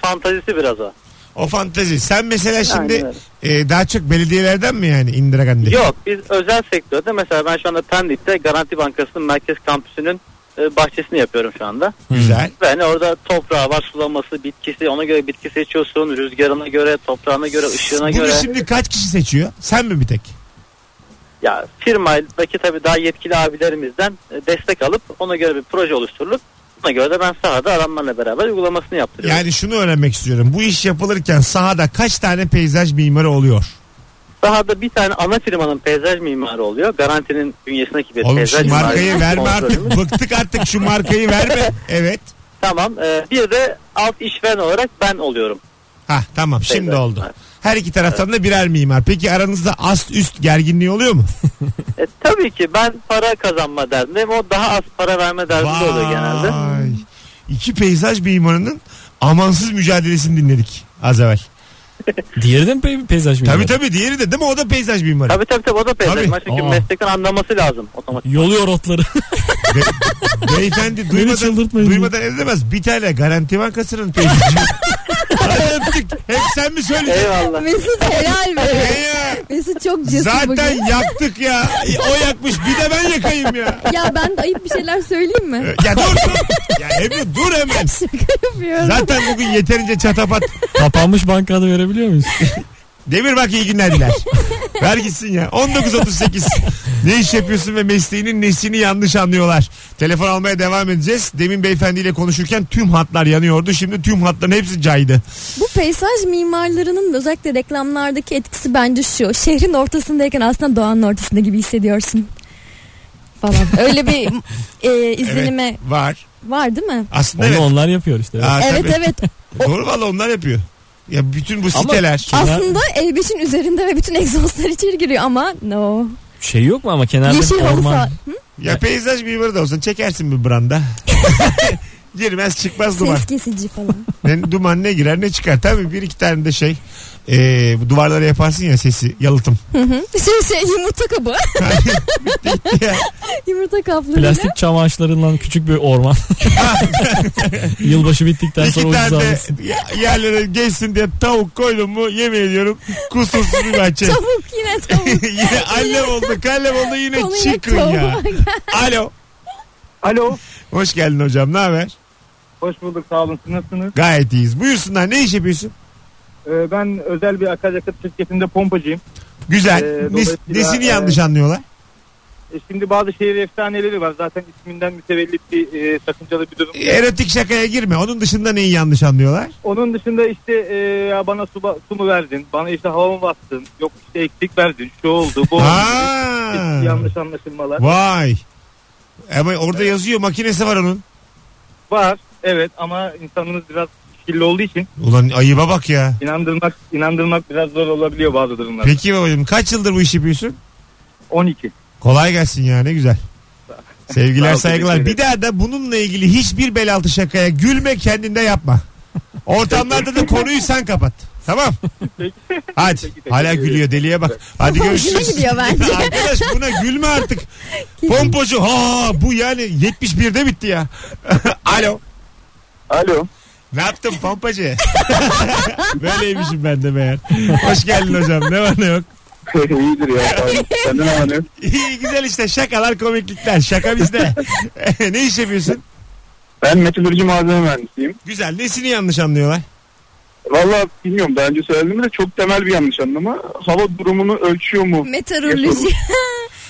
[SPEAKER 6] fantazisi biraz o.
[SPEAKER 2] O fantezi. Sen mesela
[SPEAKER 6] Aynen
[SPEAKER 2] şimdi
[SPEAKER 6] öyle.
[SPEAKER 2] e, daha çok belediyelerden mi yani Indira Gandhi?
[SPEAKER 6] Yok biz özel sektörde mesela ben şu anda Pendik'te Garanti Bankası'nın merkez kampüsünün e, bahçesini yapıyorum şu anda.
[SPEAKER 2] Güzel.
[SPEAKER 6] Ben orada toprağı var, sulaması, bitkisi, ona göre bitki seçiyorsun, rüzgarına göre, toprağına göre, ışığına
[SPEAKER 2] Bunu
[SPEAKER 6] göre.
[SPEAKER 2] şimdi kaç kişi seçiyor? Sen mi bir tek?
[SPEAKER 6] Ya firmadaki tabii daha yetkili abilerimizden e, destek alıp ona göre bir proje oluşturulup buna göre de ben sahada adamlarla beraber uygulamasını yaptırıyorum.
[SPEAKER 2] Yani şunu öğrenmek istiyorum. Bu iş yapılırken sahada kaç tane peyzaj mimarı oluyor?
[SPEAKER 6] Sahada bir tane ana firmanın peyzaj mimarı oluyor. Garantinin bünyesindeki bir
[SPEAKER 2] Oğlum
[SPEAKER 6] E, peyzaj
[SPEAKER 2] şu markayı
[SPEAKER 6] mimarı.
[SPEAKER 2] verme
[SPEAKER 6] Sponsorumuz.
[SPEAKER 2] artık. Bıktık artık şu markayı verme. Evet.
[SPEAKER 6] Tamam. e, bir de alt işveren olarak ben oluyorum.
[SPEAKER 2] Ha tamam şimdi
[SPEAKER 6] Peyzaj
[SPEAKER 2] oldu.
[SPEAKER 6] mimarı.
[SPEAKER 2] Her iki taraftan da birer mimar. Peki aranızda ast üst gerginliği oluyor mu?
[SPEAKER 6] E, tabii ki ben para kazanma derdindeyim. O daha az para verme derdinde oluyor genelde.
[SPEAKER 2] Vay. İki peyzaj mimarının amansız mücadelesini dinledik az evvel.
[SPEAKER 4] Diğeri de mi pe- peyzaj mı?
[SPEAKER 2] Tabii tabii diğeri de değil mi? O da peyzaj mimarı.
[SPEAKER 6] Tabii tabii tabii o da peyzaj.
[SPEAKER 2] Tabii.
[SPEAKER 6] mimarı. Çünkü
[SPEAKER 4] Aa.
[SPEAKER 6] meslekten anlaması lazım otomatik.
[SPEAKER 4] Yoluyor otları.
[SPEAKER 2] Be- beyefendi duymadan,
[SPEAKER 4] çıldırtmayın.
[SPEAKER 2] duymadan edemez. Bir tane garanti bankasının peyzajı. Hadi öptük. Hep sen mi söyledin?
[SPEAKER 6] Eyvallah.
[SPEAKER 3] Mesut helal be.
[SPEAKER 2] Ee, ya.
[SPEAKER 3] Mesut çok cesur bugün.
[SPEAKER 2] Zaten yaktık ya. O yakmış bir de ben yakayım ya.
[SPEAKER 3] Ya ben de ayıp bir şeyler söyleyeyim mi?
[SPEAKER 2] Ya dur dur. Ya Ebru dur hemen.
[SPEAKER 3] Şaka yapıyorum.
[SPEAKER 2] Zaten bugün yeterince çatapat.
[SPEAKER 4] Kapanmış bankada verebiliyor muyuz?
[SPEAKER 2] Demir bak iyi günler diler. Ver gitsin ya. 19.38. Ne iş yapıyorsun ve mesleğinin nesini yanlış anlıyorlar. Telefon almaya devam edeceğiz. Demin beyefendiyle konuşurken tüm hatlar yanıyordu. Şimdi tüm hatların hepsi caydı.
[SPEAKER 3] Bu peyzaj mimarlarının özellikle reklamlardaki etkisi bence şu. Şehrin ortasındayken aslında doğanın ortasında gibi hissediyorsun. Falan. Öyle bir e, izlenime
[SPEAKER 2] Var.
[SPEAKER 3] var değil mi?
[SPEAKER 2] Aslında
[SPEAKER 4] Onu
[SPEAKER 2] evet.
[SPEAKER 4] onlar yapıyor işte.
[SPEAKER 2] Aa,
[SPEAKER 3] evet
[SPEAKER 2] tabii.
[SPEAKER 3] evet.
[SPEAKER 2] Doğru valla onlar yapıyor. Ya bütün bu siteler.
[SPEAKER 4] Kenar-
[SPEAKER 3] Aslında E5'in üzerinde ve bütün egzozlar içeri giriyor ama no.
[SPEAKER 4] Şey yok mu ama kenarda
[SPEAKER 3] Yeşil
[SPEAKER 4] bir
[SPEAKER 3] halı
[SPEAKER 4] orman.
[SPEAKER 3] saha. Hı?
[SPEAKER 2] Ya peyzaj mimarı da olsa çekersin bir branda. Girmez çıkmaz duman.
[SPEAKER 3] Ses kesici falan.
[SPEAKER 2] Ne, duman ne girer ne çıkar. Tabii bir iki tane de şey. E, bu duvarlara yaparsın ya sesi yalıtım.
[SPEAKER 3] Hı hı. şey şey yumurta kabı. yumurta kaplarıyla.
[SPEAKER 4] Plastik çam ağaçlarından küçük bir orman. Yılbaşı bittikten
[SPEAKER 2] iki
[SPEAKER 4] sonra ucuz
[SPEAKER 2] tane de
[SPEAKER 4] alırsın.
[SPEAKER 2] yerlere geçsin diye tavuk koydum mu yemin ediyorum kusursuz bir
[SPEAKER 4] şey.
[SPEAKER 2] bahçe.
[SPEAKER 3] Tavuk yine tavuk.
[SPEAKER 2] yine annem oldu kallem oldu yine
[SPEAKER 3] Konuya
[SPEAKER 2] çıkın ya.
[SPEAKER 3] tavuğa gel.
[SPEAKER 2] Alo.
[SPEAKER 5] Alo.
[SPEAKER 2] Hoş geldin hocam ne haber?
[SPEAKER 5] Hoş bulduk sağ olun. Nasılsınız?
[SPEAKER 2] Gayet iyiyiz. Buyursunlar ne iş yapıyorsun?
[SPEAKER 5] Ee, ben özel bir akaryakıt şirketinde pompacıyım.
[SPEAKER 2] Güzel.
[SPEAKER 5] Ee,
[SPEAKER 2] Nes-
[SPEAKER 5] dolayısıyla,
[SPEAKER 2] nesini
[SPEAKER 5] e,
[SPEAKER 2] yanlış anlıyorlar?
[SPEAKER 5] E, şimdi bazı şehir efsaneleri var. Zaten isminden mütevellit bir e, sakıncalı bir durum.
[SPEAKER 2] Erotik şakaya girme. Onun dışında neyi yanlış anlıyorlar?
[SPEAKER 5] Onun dışında işte e, ya bana su, ba- su mu verdin? Bana işte hava mı bastın? Yok işte eksik verdin. Şu oldu bu oldu.
[SPEAKER 2] Ha.
[SPEAKER 5] Hiç yanlış anlaşılmalar.
[SPEAKER 2] Vay. Ama orada yazıyor makinesi var onun.
[SPEAKER 5] Var evet ama insanımız biraz kirli olduğu için
[SPEAKER 2] Ulan ayıba bak ya.
[SPEAKER 5] inandırmak inandırmak biraz zor olabiliyor bazı durumlarda.
[SPEAKER 2] Peki babacığım kaç yıldır bu işi yapıyorsun?
[SPEAKER 5] 12.
[SPEAKER 2] Kolay gelsin ya ne güzel.
[SPEAKER 5] Sağ
[SPEAKER 2] Sevgiler
[SPEAKER 5] ol,
[SPEAKER 2] saygılar.
[SPEAKER 5] teşekkür
[SPEAKER 2] Bir daha da bununla ilgili hiçbir belaltı şakaya gülme kendinde yapma. Ortamlarda da konuyu sen kapat. Tamam. Hadi.
[SPEAKER 5] Peki, teşekkür
[SPEAKER 2] Hala
[SPEAKER 5] ederim.
[SPEAKER 2] gülüyor deliye bak. Hadi
[SPEAKER 3] Hoşuna
[SPEAKER 2] görüşürüz.
[SPEAKER 3] gidiyor bence.
[SPEAKER 2] Arkadaş buna gülme artık. Pompocu ha bu yani 71'de bitti ya. Alo.
[SPEAKER 5] Alo.
[SPEAKER 2] Ne yaptın pompacı? Böyleymişim ben de meğer. Hoş geldin hocam. Ne var ne yok.
[SPEAKER 5] İyidir ya. Senden anlıyorum.
[SPEAKER 2] İyi güzel işte şakalar komiklikler. Şaka bizde. ne iş yapıyorsun?
[SPEAKER 5] Ben metalürji malzeme mühendisiyim.
[SPEAKER 2] Güzel. Nesini yanlış anlıyorlar?
[SPEAKER 5] Valla bilmiyorum daha önce söyledim de çok temel bir yanlış anlama. Hava durumunu ölçüyor mu?
[SPEAKER 3] Meteoroloji.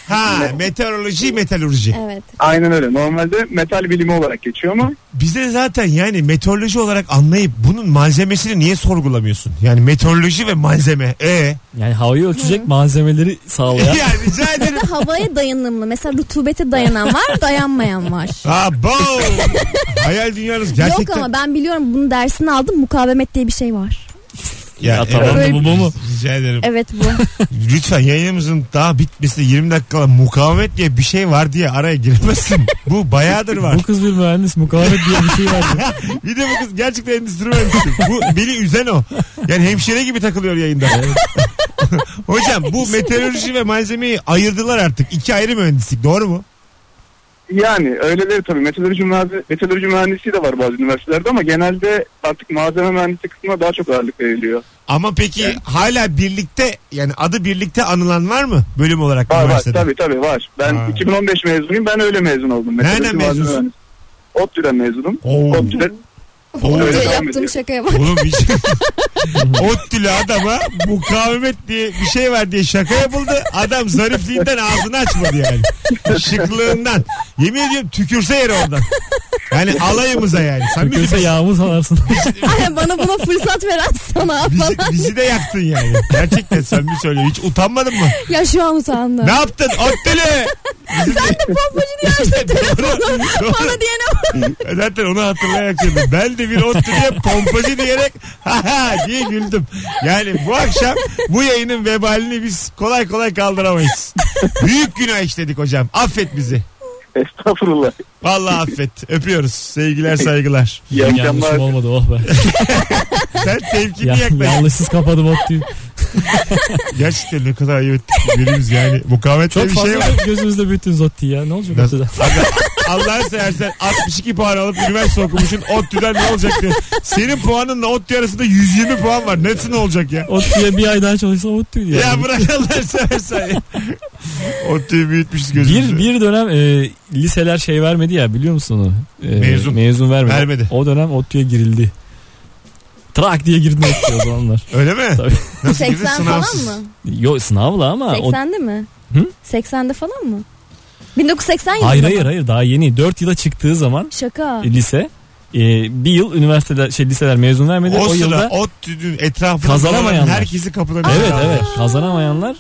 [SPEAKER 2] Ha meteoroloji metalurji.
[SPEAKER 3] evet.
[SPEAKER 5] Aynen öyle. Normalde metal bilimi olarak geçiyor ama
[SPEAKER 2] Bize zaten yani meteoroloji olarak anlayıp bunun malzemesini niye sorgulamıyorsun? Yani meteoroloji ve malzeme. E
[SPEAKER 4] Yani havayı ölçecek malzemeleri sağlayan.
[SPEAKER 2] yani rica ederim.
[SPEAKER 3] Mesela havaya dayanımlı. Mesela rutubete dayanan var, dayanmayan var.
[SPEAKER 2] Abo. Hayal dünyanız gerçekten.
[SPEAKER 3] Yok ama ben biliyorum bunun dersini aldım. Mukavemet diye bir şey var.
[SPEAKER 4] Ya tamam da bu bu mu?
[SPEAKER 2] Rica ederim.
[SPEAKER 3] Evet bu.
[SPEAKER 2] Lütfen yayınımızın daha bitmesi 20 dakikalık mukavemet diye bir şey var diye araya girmesin. bu bayağıdır var.
[SPEAKER 4] Bu kız bir mühendis mukavemet diye bir şey var.
[SPEAKER 2] Bir de bu kız gerçekten endüstri mühendisi. Bu beni üzen o. Yani hemşire gibi takılıyor yayında. Hocam bu meteoroloji ve malzemeyi ayırdılar artık. İki ayrı mühendislik doğru mu?
[SPEAKER 5] Yani öyleleri tabii. Meteoroloji, mühendisi, meteoroloji mühendisliği de var bazı üniversitelerde ama genelde artık malzeme mühendisi kısmına daha çok ağırlık veriliyor.
[SPEAKER 2] Ama peki hala birlikte yani adı birlikte anılan var mı bölüm olarak
[SPEAKER 5] Var var
[SPEAKER 2] üniversitede?
[SPEAKER 5] tabii tabii var. Ben
[SPEAKER 2] Ha.
[SPEAKER 5] 2015 mezunuyum ben öyle mezun oldum.
[SPEAKER 2] Nereden
[SPEAKER 5] Meteoroloji malzeme
[SPEAKER 2] mezunsun?
[SPEAKER 5] mühendisi. ODTÜ'den mezunum.
[SPEAKER 2] Oo.
[SPEAKER 5] ODTÜ'den
[SPEAKER 2] Oo.
[SPEAKER 5] Öyle
[SPEAKER 3] Önce
[SPEAKER 5] devam
[SPEAKER 3] yaptığım
[SPEAKER 5] ediyor.
[SPEAKER 3] şakaya bak.
[SPEAKER 2] Oğlum bir şey. Ottülü adama mukavemet diye bir şey var diye şaka yapıldı. Adam zarifliğinden ağzını açmadı yani. Şıklığından. Yemin ediyorum tükürse yere oradan. Yani alayımıza yani. Sen
[SPEAKER 4] Köse yağmur salarsın.
[SPEAKER 3] Ay, Bana buna fırsat veren sana
[SPEAKER 2] bizi,
[SPEAKER 3] falan.
[SPEAKER 2] bizi de yaktın yani. Gerçekten sen bir söyle. Hiç utanmadın mı?
[SPEAKER 3] ya şu an utandım.
[SPEAKER 2] Ne yaptın? Ottülü!
[SPEAKER 3] Sen de pompacı diye açtın telefonu. Bana diyene bak.
[SPEAKER 2] Zaten onu hatırlayarak söyledim. Ben de bir ot diye pompacı diyerek ha ha diye güldüm. Yani bu akşam bu yayının vebalini biz kolay kolay kaldıramayız. Büyük günah işledik hocam. Affet bizi.
[SPEAKER 5] Estağfurullah.
[SPEAKER 2] Vallahi affet. Öpüyoruz. Sevgiler saygılar.
[SPEAKER 5] İyi akşamlar.
[SPEAKER 4] Yanlışım olmadı oh be.
[SPEAKER 2] Sen
[SPEAKER 4] Ya,
[SPEAKER 2] tevkini yaklaş.
[SPEAKER 4] yanlışsız kapadım ot diye.
[SPEAKER 2] Gerçekten ne kadar ayıp ettik birbirimiz yani. Mukavmetle
[SPEAKER 4] Çok
[SPEAKER 2] bir şey
[SPEAKER 4] fazla
[SPEAKER 2] var.
[SPEAKER 4] gözümüzde büyüttün Zotti ya. Ne olacak
[SPEAKER 2] Nasıl-
[SPEAKER 4] Zotti'den?
[SPEAKER 2] Allah'ın seversen 62 puan alıp üniversite okumuşsun. ODTÜ'den ne olacak diye. Senin puanınla ODTÜ arasında 120 puan var. Nesin olacak ya?
[SPEAKER 4] Ottu'ya bir ay daha çalışsa Ottu diye.
[SPEAKER 2] Ya bırak Allah seversen ya. Otluyu büyütmüşüz gözümüzü.
[SPEAKER 4] bir, bir dönem e, liseler şey vermedi ya biliyor musun onu? E,
[SPEAKER 2] Mezun.
[SPEAKER 4] Mezun vermedi.
[SPEAKER 2] Vermedi.
[SPEAKER 4] O dönem Ottu'ya girildi. Trak diye girdi Ottu'ya o zamanlar.
[SPEAKER 2] Öyle mi?
[SPEAKER 4] Tabii.
[SPEAKER 2] Nasıl girdin?
[SPEAKER 3] 80 falan
[SPEAKER 2] Sınavsız.
[SPEAKER 3] mı?
[SPEAKER 4] Yo sınavla ama. o-
[SPEAKER 3] 80'de mi?
[SPEAKER 4] Hı?
[SPEAKER 3] 80'de falan mı? 1980 yılında
[SPEAKER 4] Hayır
[SPEAKER 3] mı?
[SPEAKER 4] hayır hayır daha yeni. 4 yıla çıktığı zaman
[SPEAKER 3] Şaka.
[SPEAKER 4] e, lise e, bir yıl üniversiteler şey liseler mezun vermedi. O,
[SPEAKER 2] O, sıra
[SPEAKER 4] yılda
[SPEAKER 2] Otlu'nun etrafında
[SPEAKER 4] Kazanamayanlar.
[SPEAKER 2] olan herkesi kapıdan
[SPEAKER 4] evet
[SPEAKER 2] içeri
[SPEAKER 4] evet
[SPEAKER 2] aldı.
[SPEAKER 4] kazanamayanlar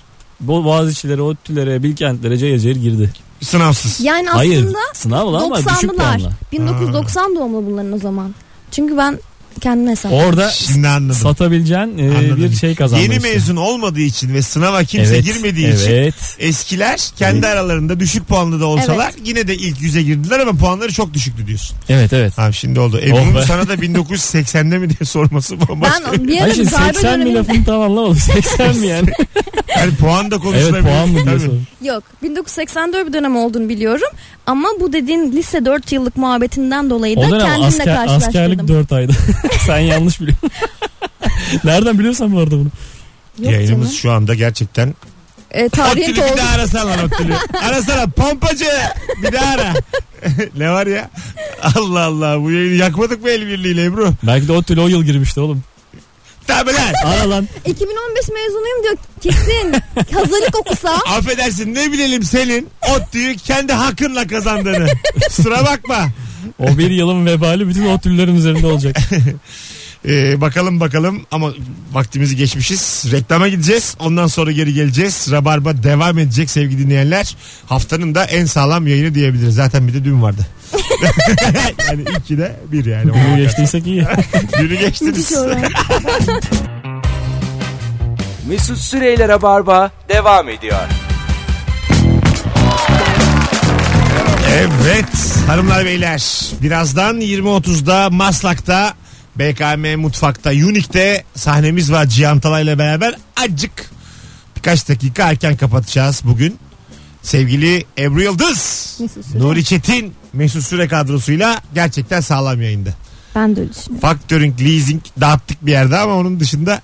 [SPEAKER 4] Bo- Boğaziçi'lere, ODTÜ'lere, Bilkentlere cayır cayır girdi.
[SPEAKER 2] Sınavsız.
[SPEAKER 3] Yani
[SPEAKER 4] Hayır
[SPEAKER 3] aslında
[SPEAKER 4] sınavla ama düşük
[SPEAKER 3] 90'lılar.
[SPEAKER 4] puanla.
[SPEAKER 3] 1990 doğumlu bunların o zaman. Çünkü ben kendime hesap.
[SPEAKER 4] Orada
[SPEAKER 2] Şimdi anladım.
[SPEAKER 4] satabileceğin e,
[SPEAKER 2] Anladım.
[SPEAKER 4] bir şey kazandın.
[SPEAKER 2] Yeni
[SPEAKER 4] işte.
[SPEAKER 2] mezun olmadığı için ve sınava kimse
[SPEAKER 4] Evet,
[SPEAKER 2] girmediği için
[SPEAKER 4] Evet.
[SPEAKER 2] eskiler kendi aralarında düşük puanlı da olsalar yine de ilk yüze girdiler ama puanları çok düşüktü diyorsun.
[SPEAKER 4] Evet evet.
[SPEAKER 2] Abi şimdi oldu. Ebru'nun
[SPEAKER 4] Oh be.
[SPEAKER 2] sana da 1980'de mi diye sorması bambaşka.
[SPEAKER 3] Ben bir ara
[SPEAKER 4] Ay şimdi
[SPEAKER 3] darbe
[SPEAKER 4] 80 mi
[SPEAKER 3] döneminde-
[SPEAKER 4] lafını tam anlamadım. 80 mi yani?
[SPEAKER 2] Yani puan da konuşulabilir.
[SPEAKER 4] evet puan mı
[SPEAKER 2] Tabii.
[SPEAKER 4] diyorsun?
[SPEAKER 3] Yok 1984 bir dönem olduğunu biliyorum ama bu dediğin lise 4 yıllık muhabbetinden dolayı da
[SPEAKER 4] O dönem
[SPEAKER 3] E, kendimle
[SPEAKER 4] asker, askerlik
[SPEAKER 3] karşılaştırdım.
[SPEAKER 4] 4 aydı. Sen yanlış biliyorsun. Nereden biliyorsan bu arada bunu.
[SPEAKER 3] Yok
[SPEAKER 2] Yayınımız
[SPEAKER 3] canım.
[SPEAKER 2] şu anda gerçekten
[SPEAKER 3] Ee, tarihin
[SPEAKER 2] Otülü bir
[SPEAKER 3] oldu.
[SPEAKER 2] daha arasana lan Otülü. arasana pompacı bir daha ara. ne var ya? Allah Allah bu yayını yakmadık mı el birliğiyle Ebru?
[SPEAKER 4] Belki de o tül o yıl girmişti oğlum.
[SPEAKER 2] Tabi lan.
[SPEAKER 4] Ara lan.
[SPEAKER 3] 2015 mezunuyum diyor kesin. Hazırlık okusa
[SPEAKER 2] Affedersin ne bilelim senin Otlu'yu kendi hakkınla kazandığını. Kusura bakma.
[SPEAKER 4] O bir yılın vebali bütün o tüllerin üzerinde olacak.
[SPEAKER 2] Ee, bakalım bakalım ama vaktimizi geçmişiz. Reklama gideceğiz. Ondan sonra geri geleceğiz. Rabarba devam edecek sevgili dinleyenler. Haftanın da en sağlam yayını diyebiliriz. Zaten bir de dün vardı. yani iki de bir yani.
[SPEAKER 4] Bu geçtiysek iyi.
[SPEAKER 2] Günü
[SPEAKER 3] müthiş
[SPEAKER 2] geçtiniz.
[SPEAKER 3] olur.
[SPEAKER 1] Mesut Süreyler'e barba devam ediyor.
[SPEAKER 2] Evet hanımlar beyler birazdan 20.30'da Maslak'ta BKM Mutfak'ta Unique'de sahnemiz var Cihan Talay'la beraber acık birkaç dakika erken kapatacağız bugün. Sevgili Ebru Yıldız,
[SPEAKER 3] Mesut Süre.
[SPEAKER 2] Nuri Çetin, Mesut Süre kadrosuyla gerçekten sağlam yayında.
[SPEAKER 3] Ben de öyle düşünüyorum.
[SPEAKER 2] Factoring, leasing dağıttık bir yerde ama onun dışında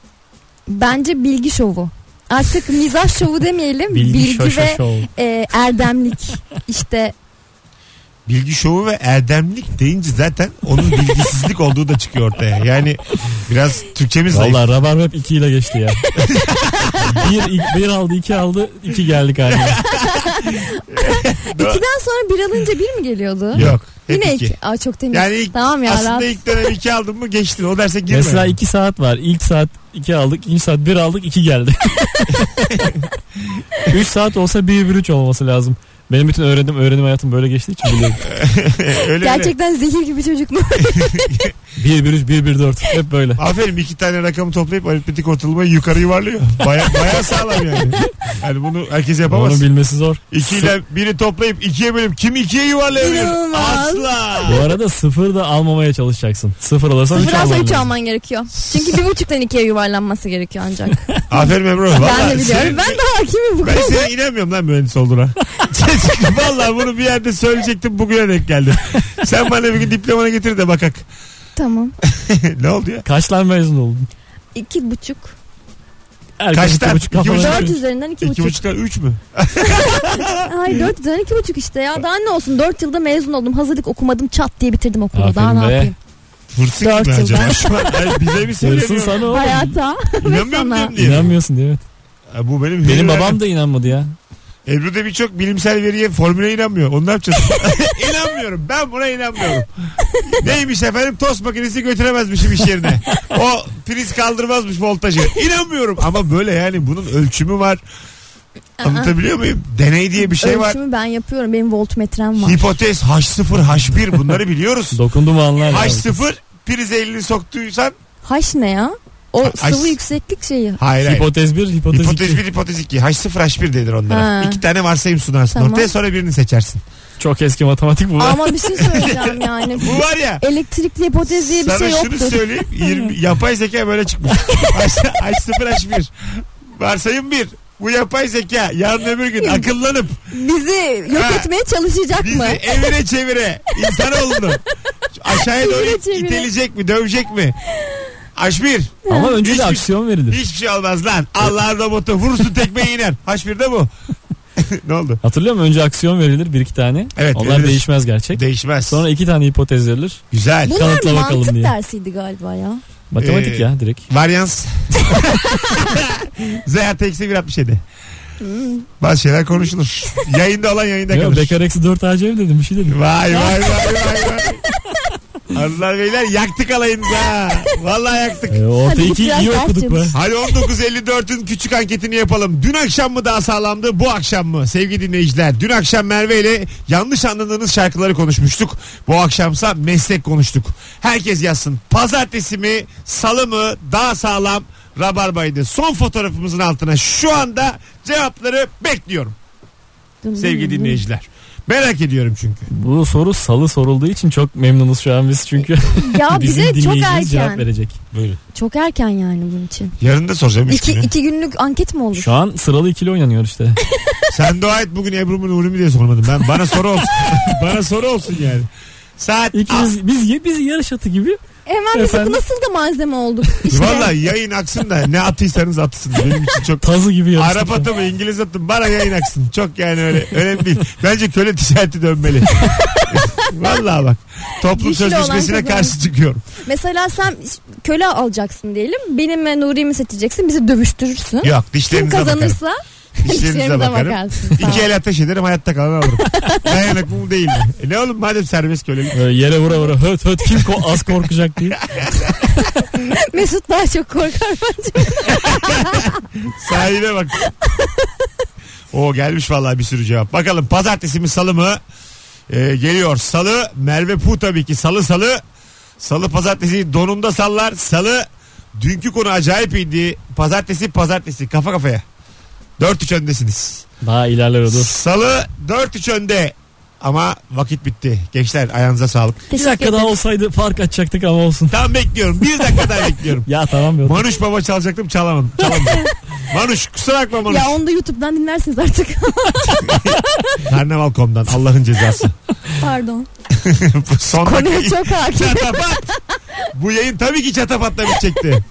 [SPEAKER 3] Bence bilgi şovu. Artık mizah şovu demeyelim. Bilgi,
[SPEAKER 4] Bilgi, şoşo
[SPEAKER 3] ve
[SPEAKER 4] şov.
[SPEAKER 3] e, erdemlik işte
[SPEAKER 2] bilgi şovu ve erdemlik deyince zaten onun bilgisizlik olduğu da çıkıyor ortaya. Yani biraz Türkçemiz zayıf.
[SPEAKER 4] Valla Rabarba hep 2 ile geçti ya. bir, ik- bir aldı, iki aldı, iki geldik haline.
[SPEAKER 3] ikiden sonra bir alınca bir mi geliyordu?
[SPEAKER 2] Yok. Hep
[SPEAKER 3] Yine
[SPEAKER 2] iki.
[SPEAKER 3] iki. Aa çok temiz.
[SPEAKER 2] Yani ilk,
[SPEAKER 3] tamam ya
[SPEAKER 2] aslında
[SPEAKER 3] rahat.
[SPEAKER 2] ilk dönem iki aldın mı geçtin. O derse girme.
[SPEAKER 4] Mesela 2 saat var. İlk saat 2 aldık, ikinci saat 1 aldık, 2 geldi. 3 saat olsa 1 1 3 olması lazım. Benim bütün öğrendim öğrenim hayatım böyle geçtiği için biliyorum.
[SPEAKER 2] öyle öyle.
[SPEAKER 3] Gerçekten zehir gibi çocuk mu?
[SPEAKER 4] 1 1 3 1 1 4 hep böyle.
[SPEAKER 2] Aferin iki tane rakamı toplayıp aritmetik ortalamayı yukarı yuvarlıyor. Baya, baya sağlam yani. Yani bunu herkes yapamaz.
[SPEAKER 4] Onu bilmesi zor.
[SPEAKER 2] İki ile biri toplayıp ikiye bölüp kim ikiye yuvarlayabilir?
[SPEAKER 3] İnanılmaz.
[SPEAKER 2] Asla.
[SPEAKER 4] Bu arada sıfır da almamaya çalışacaksın. Sıfır alırsan 3
[SPEAKER 3] Sıfırdan sonra
[SPEAKER 4] alman
[SPEAKER 3] 3
[SPEAKER 4] lazım.
[SPEAKER 3] alman gerekiyor. Çünkü bir buçuktan ikiye yuvarlanması gerekiyor ancak.
[SPEAKER 2] Aferin Ebru.
[SPEAKER 3] ben
[SPEAKER 2] Vallahi
[SPEAKER 3] de biliyorum.
[SPEAKER 2] sen-
[SPEAKER 3] Ben de hakimim bu
[SPEAKER 2] Ben
[SPEAKER 3] konuda.
[SPEAKER 2] size inanmıyorum lan mühendis olduğuna. Valla bunu bir yerde söyleyecektim bugüne denk geldi. Sen bana bir gün diplomanı getir de bakak.
[SPEAKER 3] Tamam.
[SPEAKER 2] ne oldu ya?
[SPEAKER 4] Kaç lan mezun oldun?
[SPEAKER 3] İki buçuk.
[SPEAKER 4] Erkek
[SPEAKER 2] Kaçtan?
[SPEAKER 4] iki buçuk
[SPEAKER 2] İki
[SPEAKER 4] kafana
[SPEAKER 2] buçuk.
[SPEAKER 4] göre.
[SPEAKER 3] Dört üzerinden iki
[SPEAKER 2] İki
[SPEAKER 3] buçuk.
[SPEAKER 2] buçuktan üç mü?
[SPEAKER 3] Ay dört üzerinden iki buçuk işte ya. Daha ne olsun dört yılda mezun oldum. Hazırlık okumadım çat diye bitirdim okulu. Daha
[SPEAKER 4] Aferin
[SPEAKER 3] ne
[SPEAKER 4] be.
[SPEAKER 3] yapayım?
[SPEAKER 2] Hırsız
[SPEAKER 3] Dört
[SPEAKER 2] mı
[SPEAKER 3] yıl
[SPEAKER 2] acaba?
[SPEAKER 3] ben.
[SPEAKER 2] Şu an, Ay, bize mi
[SPEAKER 4] Hırsın
[SPEAKER 2] söylemiyor?
[SPEAKER 4] sana oğlum.
[SPEAKER 3] Hayata.
[SPEAKER 2] İnanmıyorum
[SPEAKER 3] sana.
[SPEAKER 2] diyorum diye.
[SPEAKER 4] İnanmıyorsun diye evet.
[SPEAKER 2] Ha, bu benim
[SPEAKER 4] Benim
[SPEAKER 2] veriler-
[SPEAKER 4] babam da inanmadı ya.
[SPEAKER 2] Ebru'da birçok bilimsel veriye formüle inanmıyor. Onu ne yapacağız? inanmıyorum. Ben buna inanmıyorum. Neymiş efendim? Tost makinesi götüremezmişim iş yerine. O priz kaldırmazmış voltajı. İnanmıyorum. Ama böyle yani bunun ölçümü var. Anlatabiliyor muyum? Deney diye bir şey var.
[SPEAKER 3] Ölçümü ben yapıyorum. Benim voltmetrem var.
[SPEAKER 2] Hipotez H0, H1 bunları biliyoruz.
[SPEAKER 4] Dokundu mu anlar. ya.
[SPEAKER 2] H0 prize elini soktuysan
[SPEAKER 3] Haş ne ya? O
[SPEAKER 2] Ha- haş-
[SPEAKER 3] sıvı yükseklik şeyi.
[SPEAKER 2] hayır hayır.
[SPEAKER 4] Hipotez 1, hipotez,
[SPEAKER 2] Hipotez
[SPEAKER 4] 2.
[SPEAKER 2] 1, hipotez 2. H0, H1 denir onlara.
[SPEAKER 3] Ha.
[SPEAKER 2] İki tane varsayım sunarsın
[SPEAKER 3] Tamam.
[SPEAKER 2] ortaya sonra birini seçersin.
[SPEAKER 4] Çok eski matematik bu.
[SPEAKER 3] Ama bir şey söyleyeceğim yani.
[SPEAKER 2] Bu var ya
[SPEAKER 3] Elektrikli hipotez diye bir
[SPEAKER 2] Sana
[SPEAKER 3] şey
[SPEAKER 2] şunu
[SPEAKER 3] yoktur.
[SPEAKER 2] söyleyeyim. 20, yapay zeka böyle çıkmış. H0 H1. Varsayım 1. Bu yapay zeka yarın öbür gün akıllanıp
[SPEAKER 3] Bizi yok
[SPEAKER 2] Ha.
[SPEAKER 3] etmeye çalışacak
[SPEAKER 2] bizi e-
[SPEAKER 3] mı?
[SPEAKER 2] evire çevire insanoğlunu aşağıya doğru
[SPEAKER 3] Çevire çevire.
[SPEAKER 2] itelecek mi dövecek mi? H1
[SPEAKER 4] Ama önce de
[SPEAKER 2] Hiçbir-
[SPEAKER 4] aksiyon verilir.
[SPEAKER 2] hiçbir şey olmaz lan. Allah'ın robotu vurursun tekmeye iner. H1 de bu. ne oldu?
[SPEAKER 4] Hatırlıyor musun? Önce aksiyon verilir bir iki tane.
[SPEAKER 2] Evet,
[SPEAKER 4] Onlar
[SPEAKER 2] verilir.
[SPEAKER 4] değişmez gerçek.
[SPEAKER 2] Değişmez.
[SPEAKER 4] Sonra iki tane hipotez verilir.
[SPEAKER 2] Güzel.
[SPEAKER 3] Bunlar
[SPEAKER 4] Kanıtla bakalım
[SPEAKER 3] mantık
[SPEAKER 4] diye.
[SPEAKER 3] dersiydi galiba ya.
[SPEAKER 4] Matematik
[SPEAKER 2] Ee,
[SPEAKER 4] ya direkt.
[SPEAKER 2] Varyans. Z artı eksi 167. Bazı şeyler konuşulur. Yayında olan yayında
[SPEAKER 4] Yok
[SPEAKER 2] kalır.
[SPEAKER 4] bekar eksi 4 AC dedim bir şey dedim.
[SPEAKER 2] Vay vay vay vay vay. Hanımlar beyler yaktık alayınızı ha. Vallahi yaktık.
[SPEAKER 4] Ee, orta
[SPEAKER 3] Hadi
[SPEAKER 4] iki
[SPEAKER 3] biraz
[SPEAKER 4] iyi
[SPEAKER 3] ders
[SPEAKER 4] okuduk be.
[SPEAKER 3] çalışın.
[SPEAKER 2] Hadi 19.54'ün küçük anketini yapalım. Dün akşam mı daha sağlamdı bu akşam mı? Sevgili dinleyiciler dün akşam Merve ile yanlış anladığınız şarkıları konuşmuştuk. Bu akşamsa meslek konuştuk. Herkes yazsın. Pazartesi mi salı mı daha sağlam rabarbaydı. Son fotoğrafımızın altına şu anda cevapları bekliyorum
[SPEAKER 3] Dın dın
[SPEAKER 2] sevgili
[SPEAKER 3] dın.
[SPEAKER 2] dinleyiciler. Merak ediyorum çünkü.
[SPEAKER 4] Bu soru salı sorulduğu için çok memnunuz şu an biz çünkü
[SPEAKER 3] Ya
[SPEAKER 4] bizim
[SPEAKER 3] bize çok
[SPEAKER 4] dinleyicimiz cevap
[SPEAKER 3] erken.
[SPEAKER 4] verecek.
[SPEAKER 2] Buyurun.
[SPEAKER 3] Çok erken yani bunun için.
[SPEAKER 2] Yarın da soracağım üç
[SPEAKER 3] İki,
[SPEAKER 2] günü.
[SPEAKER 3] iki günlük anket mi olur?
[SPEAKER 4] Şu an sıralı ikili oynanıyor işte.
[SPEAKER 2] Sen dua et bugün Ebru mu Nuri mu diye sormadım. Ben, bana soru olsun. bana soru olsun yani. Saat
[SPEAKER 4] İkimiz biz biz yarış atı gibi
[SPEAKER 3] Hemen biz
[SPEAKER 4] Efendim?
[SPEAKER 3] bu nasıl da malzeme olduk işte.
[SPEAKER 2] Valla yayın aksın da ne attıysanız atsın. Benim için çok
[SPEAKER 4] tazı gibi yarış.
[SPEAKER 2] Arap atı mı İngiliz atı mı bana yayın aksın. Çok yani öyle önemli değil. Bence köle ticareti dönmeli. Valla bak toplum
[SPEAKER 3] Güçlü olan
[SPEAKER 2] sözleşmesine
[SPEAKER 3] kazanır.
[SPEAKER 2] karşı çıkıyorum.
[SPEAKER 3] Mesela sen köle alacaksın diyelim. Benim ve Nuri'mi seçeceksin. Bizi dövüştürürsün.
[SPEAKER 2] Yok
[SPEAKER 3] Kim
[SPEAKER 2] dişlerinize bakarım.
[SPEAKER 3] kazanırsa
[SPEAKER 2] Dişlerinize
[SPEAKER 3] dişlerimize
[SPEAKER 2] bakarım.
[SPEAKER 3] bakarsın. Tamam.
[SPEAKER 2] İki el ateş ederim hayatta kalanı alırım. Dayanıklı mı değil mi? E ne oğlum madem serbest kölelik.
[SPEAKER 4] Böyle yere vura vura höt höt kim ko- az korkacak diye.
[SPEAKER 3] Mesut daha çok korkar bence.
[SPEAKER 2] Sahibe bak. o gelmiş vallahi bir sürü cevap. Bakalım pazartesi mi salı mı? Ee, geliyor salı. Merve Pu tabii ki salı salı. Salı pazartesi donunda sallar. Salı dünkü konu acayip iyiydi. Pazartesi pazartesi kafa kafaya. 4-3 öndesiniz.
[SPEAKER 4] Daha ilerler o, dur.
[SPEAKER 2] Salı 4-3 önde. Ama vakit bitti. Gençler ayağınıza sağlık.
[SPEAKER 4] Bir
[SPEAKER 3] Teşekkür
[SPEAKER 4] dakika daha
[SPEAKER 3] ederim.
[SPEAKER 4] olsaydı fark açacaktık ama olsun.
[SPEAKER 2] Tam bekliyorum. Bir dakika daha bekliyorum.
[SPEAKER 4] Ya tamam be.
[SPEAKER 2] Manuş baba çalacaktım çalamadım. çalamadım. Manuş kusura bakma Manuş.
[SPEAKER 3] Ya onu da YouTube'dan dinlersiniz artık.
[SPEAKER 2] Karnaval.com'dan Allah'ın cezası.
[SPEAKER 3] Pardon.
[SPEAKER 2] Bu Son
[SPEAKER 3] Konuya
[SPEAKER 2] dakika
[SPEAKER 3] çok hakim.
[SPEAKER 2] çatapat. Bu yayın tabii ki çatapatla bitecekti.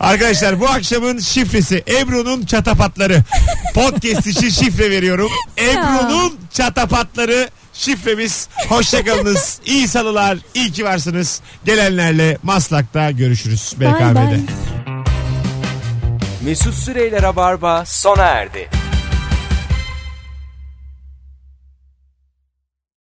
[SPEAKER 2] Arkadaşlar bu akşamın şifresi Ebru'nun çatapatları. Podcast için şifre veriyorum. Ebru'nun çatapatları şifremiz. Hoşçakalınız. İyi salılar. İyi ki varsınız. Gelenlerle Maslak'ta görüşürüz.
[SPEAKER 3] Bye
[SPEAKER 2] BKM'de.
[SPEAKER 3] bye.
[SPEAKER 1] Mesut Süreyler'e barba sona erdi.